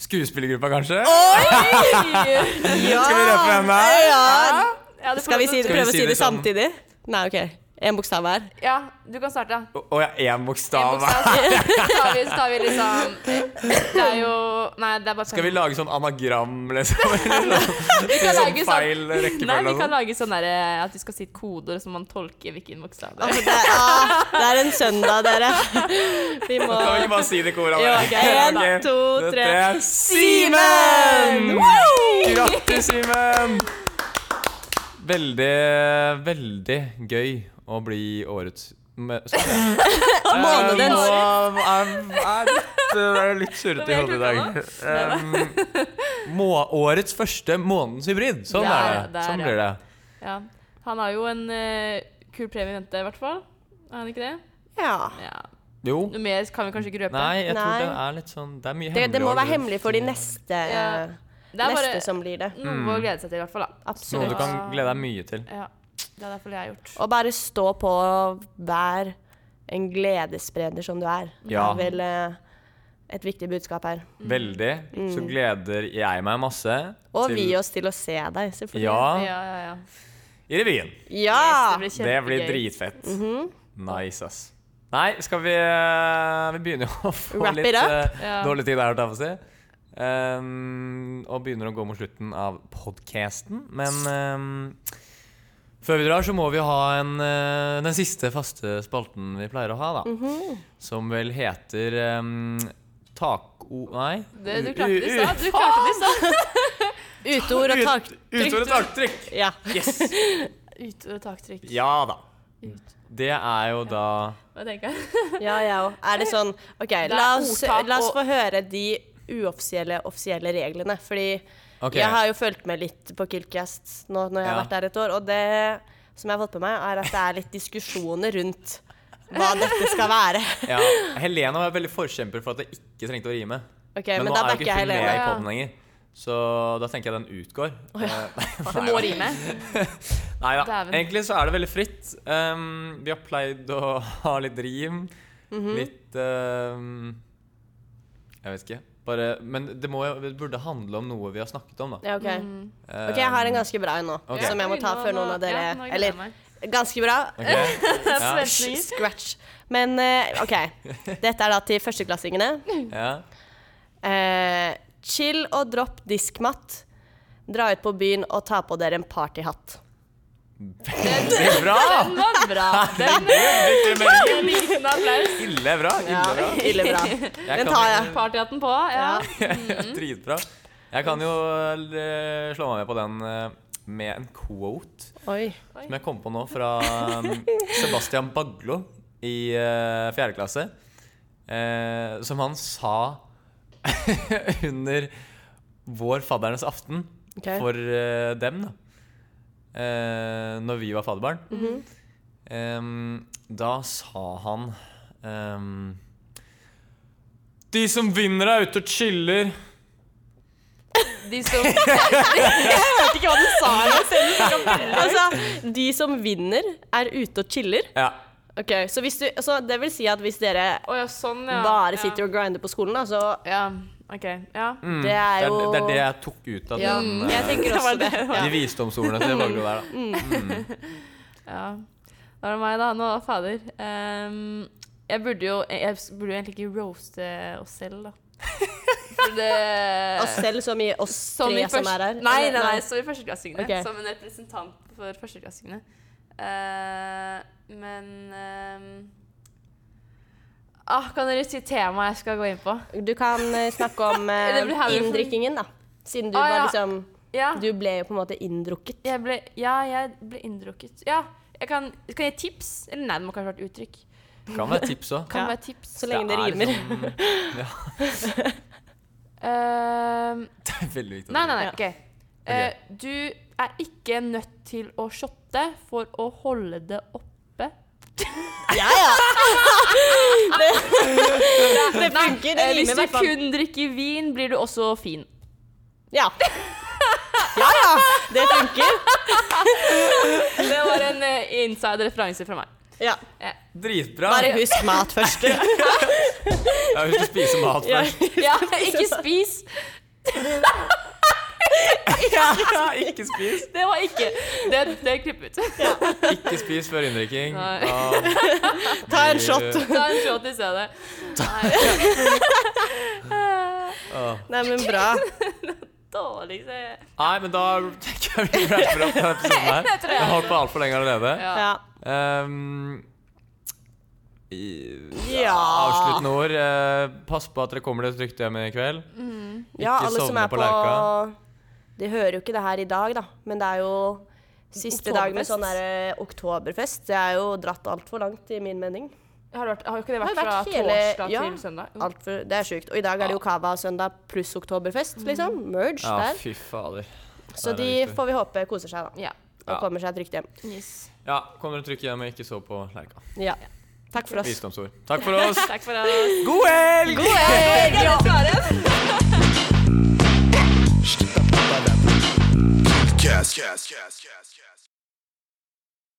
Speaker 1: skuespillergruppa, kanskje?
Speaker 3: Ja!
Speaker 1: Skal vi røpe hvem det er?
Speaker 3: Ja.
Speaker 2: Ja, du får
Speaker 3: Skal
Speaker 2: lov
Speaker 3: vi si
Speaker 2: til
Speaker 1: Ah, Skal vi
Speaker 3: det, prøve å
Speaker 1: si
Speaker 3: si
Speaker 1: det
Speaker 3: det
Speaker 1: sånn?
Speaker 3: samtidig? Nei, OK. Én bokstav hver.
Speaker 2: å- Ja, du kan starte. En
Speaker 1: Å ja, én bokstav.
Speaker 2: bokstav, Så tar vi, så tar vi liksom Det er jo Nei, det er bare
Speaker 1: Skal vi lage sånn anagram, liksom? Eller sånn,
Speaker 2: kan
Speaker 1: sånn
Speaker 2: lage sånn-
Speaker 1: feil
Speaker 2: Nei,
Speaker 1: rekkefølge
Speaker 2: vi
Speaker 1: og
Speaker 2: kan
Speaker 1: sånn?
Speaker 2: lage sånn derre at vi skal si koder som man tolker hvilken bokstav det er.
Speaker 3: Altså, det, er, ah, det er en søndag, dere. Vi må
Speaker 1: Kan vi ikke bare si det i koret?
Speaker 3: Jo,
Speaker 1: da?
Speaker 3: ok, en,
Speaker 1: Ok,
Speaker 3: to,
Speaker 1: dette
Speaker 3: tre.
Speaker 1: er Simen! Grattis, Simen! Veldig, veldig gøy å bli årets med- Sorry. Eh,
Speaker 3: Månedens.
Speaker 1: Nå er, er litt, er litt surrete i
Speaker 2: Hva er
Speaker 1: hodet i dag. Um, må, årets første månedens hybrid. Sånn
Speaker 2: Der,
Speaker 1: er det.
Speaker 2: der,
Speaker 1: Sånn
Speaker 2: ja.
Speaker 1: blir det.
Speaker 2: Ja. Han har jo en eh, kul premie i vente, i hvert fall. Er han ikke det?
Speaker 3: Ja.
Speaker 2: Ja.
Speaker 1: Jo.
Speaker 2: Noe mer kan vi kanskje ikke røpe.
Speaker 1: Nei, jeg tror
Speaker 3: Nei.
Speaker 1: den er litt sånn Det er mye
Speaker 3: Det, det må
Speaker 1: hemmelig
Speaker 3: være hemmelig for de neste,
Speaker 2: Ja. Det er
Speaker 3: neste
Speaker 2: bare
Speaker 3: som blir det.
Speaker 2: noe
Speaker 1: Mm.
Speaker 2: å glede seg til, i hvert fall. Da.
Speaker 1: Noe du
Speaker 3: Absolutt.
Speaker 1: kan glede deg mye til.
Speaker 2: Ja. Det er derfor jeg har gjort.
Speaker 3: Og bare stå på, vær en gledesspreder som du er.
Speaker 1: Ja.
Speaker 3: Det er vel eh, et viktig budskap her.
Speaker 1: Mm. Veldig. Så gleder jeg meg masse
Speaker 3: Mm. Og vi oss til å se deg, selvfølgelig.
Speaker 1: Ja,
Speaker 2: Ja, ja, ja.
Speaker 1: i revyen.
Speaker 3: Ja!
Speaker 2: Yes,
Speaker 1: Det blir
Speaker 2: kjempegøy.
Speaker 1: dritfett.
Speaker 3: Mhm.
Speaker 1: Nice, ass. Nei, skal vi eh, Vi begynner jo å få
Speaker 3: Wrap it
Speaker 1: litt
Speaker 3: up.
Speaker 1: eh,
Speaker 2: Ja.
Speaker 1: dårlig tid her, holdt jeg på å si. Ehm, og begynner å gå mot slutten av podcasten. Men ehm, før vi drar, så må vi ha en, eh, den siste faste spalten vi pleier å ha, da.
Speaker 3: Mhm.
Speaker 1: Som vel heter ehm, Tako... Nei.
Speaker 2: Det, du
Speaker 1: U-
Speaker 2: klarte det
Speaker 1: u-
Speaker 2: i stad. Du klarte det i stad.
Speaker 3: Uteord og
Speaker 1: ut-
Speaker 3: tak...
Speaker 1: Utord og taktrykk.
Speaker 3: Ja.
Speaker 1: Yes.
Speaker 2: Ut- og taktrykk.
Speaker 1: Ja da.
Speaker 2: Ut.
Speaker 1: Det er jo da
Speaker 2: Hva tenker jeg?
Speaker 3: ja, jeg òg. Er det sånn OK,
Speaker 2: er
Speaker 3: la oss,
Speaker 2: ordtak
Speaker 3: la oss
Speaker 2: og-
Speaker 3: få høre de uoffisielle offisielle reglene. Fordi
Speaker 1: Ok.
Speaker 3: jeg har jo fulgt med litt på Kiltcast nå når jeg har
Speaker 1: Ja.
Speaker 3: vært der et år, og det som jeg har fått med meg, er at det er litt diskusjoner rundt hva dette skal være.
Speaker 1: Ja, Helena var veldig forkjemper for at jeg ikke trengte å rime.
Speaker 3: Ok, Men,
Speaker 1: nå
Speaker 3: da
Speaker 1: er jo
Speaker 3: backer jeg
Speaker 1: hun med
Speaker 3: Helene.
Speaker 1: i
Speaker 2: Ja.
Speaker 1: podden lenger, så da tenker jeg den utgår. Eh,
Speaker 2: Du må rime.
Speaker 1: Nei da.
Speaker 2: Dæven.
Speaker 1: Egentlig så er det veldig fritt. Um, vi har pleid å ha litt rim,
Speaker 3: Mhm.
Speaker 1: litt um, Jeg vet ikke. Bare, men det, må, jo- det burde handle om noe vi har snakket om, da.
Speaker 3: Ja, ok.
Speaker 1: Um,
Speaker 3: Ok, jeg har en ganske bra en nå,
Speaker 1: Ok.
Speaker 3: som jeg må ta før noen av dere
Speaker 2: Ja, Mm. nå gleder jeg
Speaker 3: Eller,
Speaker 2: meg.
Speaker 3: ganske bra.
Speaker 1: ok. Ja,
Speaker 3: Sh-
Speaker 2: Snill.
Speaker 3: Scratch. Men eh, OK. Dette er da til førsteklassingene.
Speaker 1: ja.
Speaker 3: Eh, chill og dropp diskmatt. Dra ut på byen og ta på dere en partyhatt.
Speaker 1: Veldig bra!
Speaker 2: Den var bra. Den
Speaker 1: Veldig veldig
Speaker 2: en liten applaus.
Speaker 1: Ille bra.
Speaker 3: Ja,
Speaker 1: Ille bra.
Speaker 3: ille bra.
Speaker 1: Jeg
Speaker 3: Den
Speaker 1: kan-
Speaker 3: tar jeg.
Speaker 2: Partyhatten på. Ja.
Speaker 1: Dritbra. Jeg kan jo eh, slå meg med på den eh, med en quote
Speaker 3: Oi.
Speaker 1: som jeg kom på nå, fra um, Sebastian Baglo i eh, fjerde klasse. eh, som han sa under vår faddernes aften
Speaker 3: Ok.
Speaker 1: for eh, dem, da. Eh, når vi var fadderbarn.
Speaker 3: Mhm.
Speaker 1: Em, da sa han em, De som vinner, er ute og chiller.
Speaker 2: De som
Speaker 3: Vet ikke hva du sa. jeg ser ut som en altså, de som vinner, er ute og chiller.
Speaker 1: Ja.
Speaker 3: Ok, Så hvis du, så det vil si at hvis dere
Speaker 2: Å ja, sånn, ja.
Speaker 3: bare sitter og grinder på skolen, da, så
Speaker 2: Ja. OK. Ja.
Speaker 1: Mm,
Speaker 3: Det er jo
Speaker 1: det, er, det jeg tok ut av
Speaker 3: ja,
Speaker 2: Mm.
Speaker 1: den,
Speaker 3: Jeg
Speaker 1: eh,
Speaker 3: tenker også Mm. det. Ja.
Speaker 1: de visdomsordene til Baglo der. Da.
Speaker 2: Ja. Da var det meg, da. Nå, fader. Ehm, jeg burde jo Jeg burde jo egentlig ikke roaste oss selv, da. For det
Speaker 3: Oss selv som i oss
Speaker 2: Som i
Speaker 3: tre som
Speaker 2: først-
Speaker 3: er her.
Speaker 2: Nei,
Speaker 3: Eller-
Speaker 2: nei, nei som i førsteklassingene.
Speaker 3: Ok.
Speaker 2: Som en representant for førsteklassingene. Eh, men eh, ah, Kan dere si temaet jeg skal gå inn på?
Speaker 3: Du kan eh, snakke om eh,
Speaker 2: Det blir her-
Speaker 3: inndrikkingen, da. Siden du
Speaker 2: Ah,
Speaker 3: var
Speaker 2: ja.
Speaker 3: liksom
Speaker 2: Ja,
Speaker 3: Du ble jo på en måte inndrukket.
Speaker 2: jeg ble, ja jeg ble inndrukket. Ja, jeg kan, kan jeg gi tips? Eller nei, det må kanskje være et uttrykk.
Speaker 1: Kan være tips òg.
Speaker 2: Kan
Speaker 3: Ja.
Speaker 2: være tips.
Speaker 3: Så lenge det rimer.
Speaker 1: sånn-
Speaker 2: Eh,
Speaker 1: Det er veldig viktig.
Speaker 2: Nei, nei, nei.
Speaker 3: Ja.
Speaker 2: ok. Eh, du er ikke nødt til å shotte for å holde det oppe.
Speaker 3: Ja, ja! Det, det funker. Det
Speaker 2: Eh, hvis
Speaker 3: rimer i
Speaker 2: du
Speaker 3: hvert fall.
Speaker 2: kun drikker vin, blir du også fin.
Speaker 3: Ja. ja, ja. Det funker.
Speaker 2: Det var en uh, inside referanse fra meg.
Speaker 3: Ja.
Speaker 1: Dritbra.
Speaker 3: Bare husk mat først.
Speaker 1: Jeg husker å spise mat
Speaker 3: Ja.
Speaker 1: først.
Speaker 2: Ja, ikke spis!
Speaker 1: Ikke spis.
Speaker 2: Det var ikke. Det, det klipp ut.
Speaker 1: Ikke spis før inndrikking.
Speaker 2: Nei.
Speaker 1: Da
Speaker 3: Ta en
Speaker 1: blir-
Speaker 3: shot.
Speaker 2: Ta en shot i stedet.
Speaker 1: Åh.
Speaker 3: Nei, men bra.
Speaker 2: Dårlig se.
Speaker 1: Nei, men da tenker jeg vi rapper opp denne episoden her.
Speaker 2: Jeg tror
Speaker 1: Jeg har
Speaker 2: jeg.
Speaker 1: holdt på altfor lenge allerede.
Speaker 2: Ja.
Speaker 3: Ja.
Speaker 1: Ehm, i-
Speaker 3: Ja,
Speaker 1: Avsluttende ord. eh, pass på at dere kommer dere trygt hjem i kveld.
Speaker 3: ja
Speaker 1: Ikke
Speaker 3: alle som
Speaker 1: sovne
Speaker 3: er
Speaker 1: på
Speaker 3: på
Speaker 1: Lerka.
Speaker 3: De hører jo ikke det her i dag, da, men det er jo siste dag med
Speaker 2: Oktoberfest.
Speaker 3: sånn der, eh, oktoberfest. Det er jo dratt altfor langt, i min mening.
Speaker 2: Har, det vært, har ikke det vært
Speaker 3: Har det
Speaker 2: fra
Speaker 3: vært hele-
Speaker 2: torsdag
Speaker 3: ja.
Speaker 2: til søndag? Jo.
Speaker 3: Alt for, det er sjukt. Og i dag er det jo Cava søndag pluss Oktoberfest, liksom. Merge
Speaker 1: Mm. Ja,
Speaker 3: der.
Speaker 1: fy fader.
Speaker 3: Så
Speaker 1: der er
Speaker 3: de
Speaker 1: det viktig.
Speaker 3: får vi håpe koser seg, da.
Speaker 2: Ja.
Speaker 3: Og
Speaker 1: Ja.
Speaker 3: kommer seg trygt hjem.
Speaker 2: Yes.
Speaker 1: Ja, kom dere trygt hjem og ikke så på Lerka.
Speaker 3: Ja. Takk for oss.
Speaker 1: Visdomsord. Takk for oss.
Speaker 2: Takk for oss.
Speaker 1: God helg!
Speaker 4: Cast, cast, cast, cast, cast.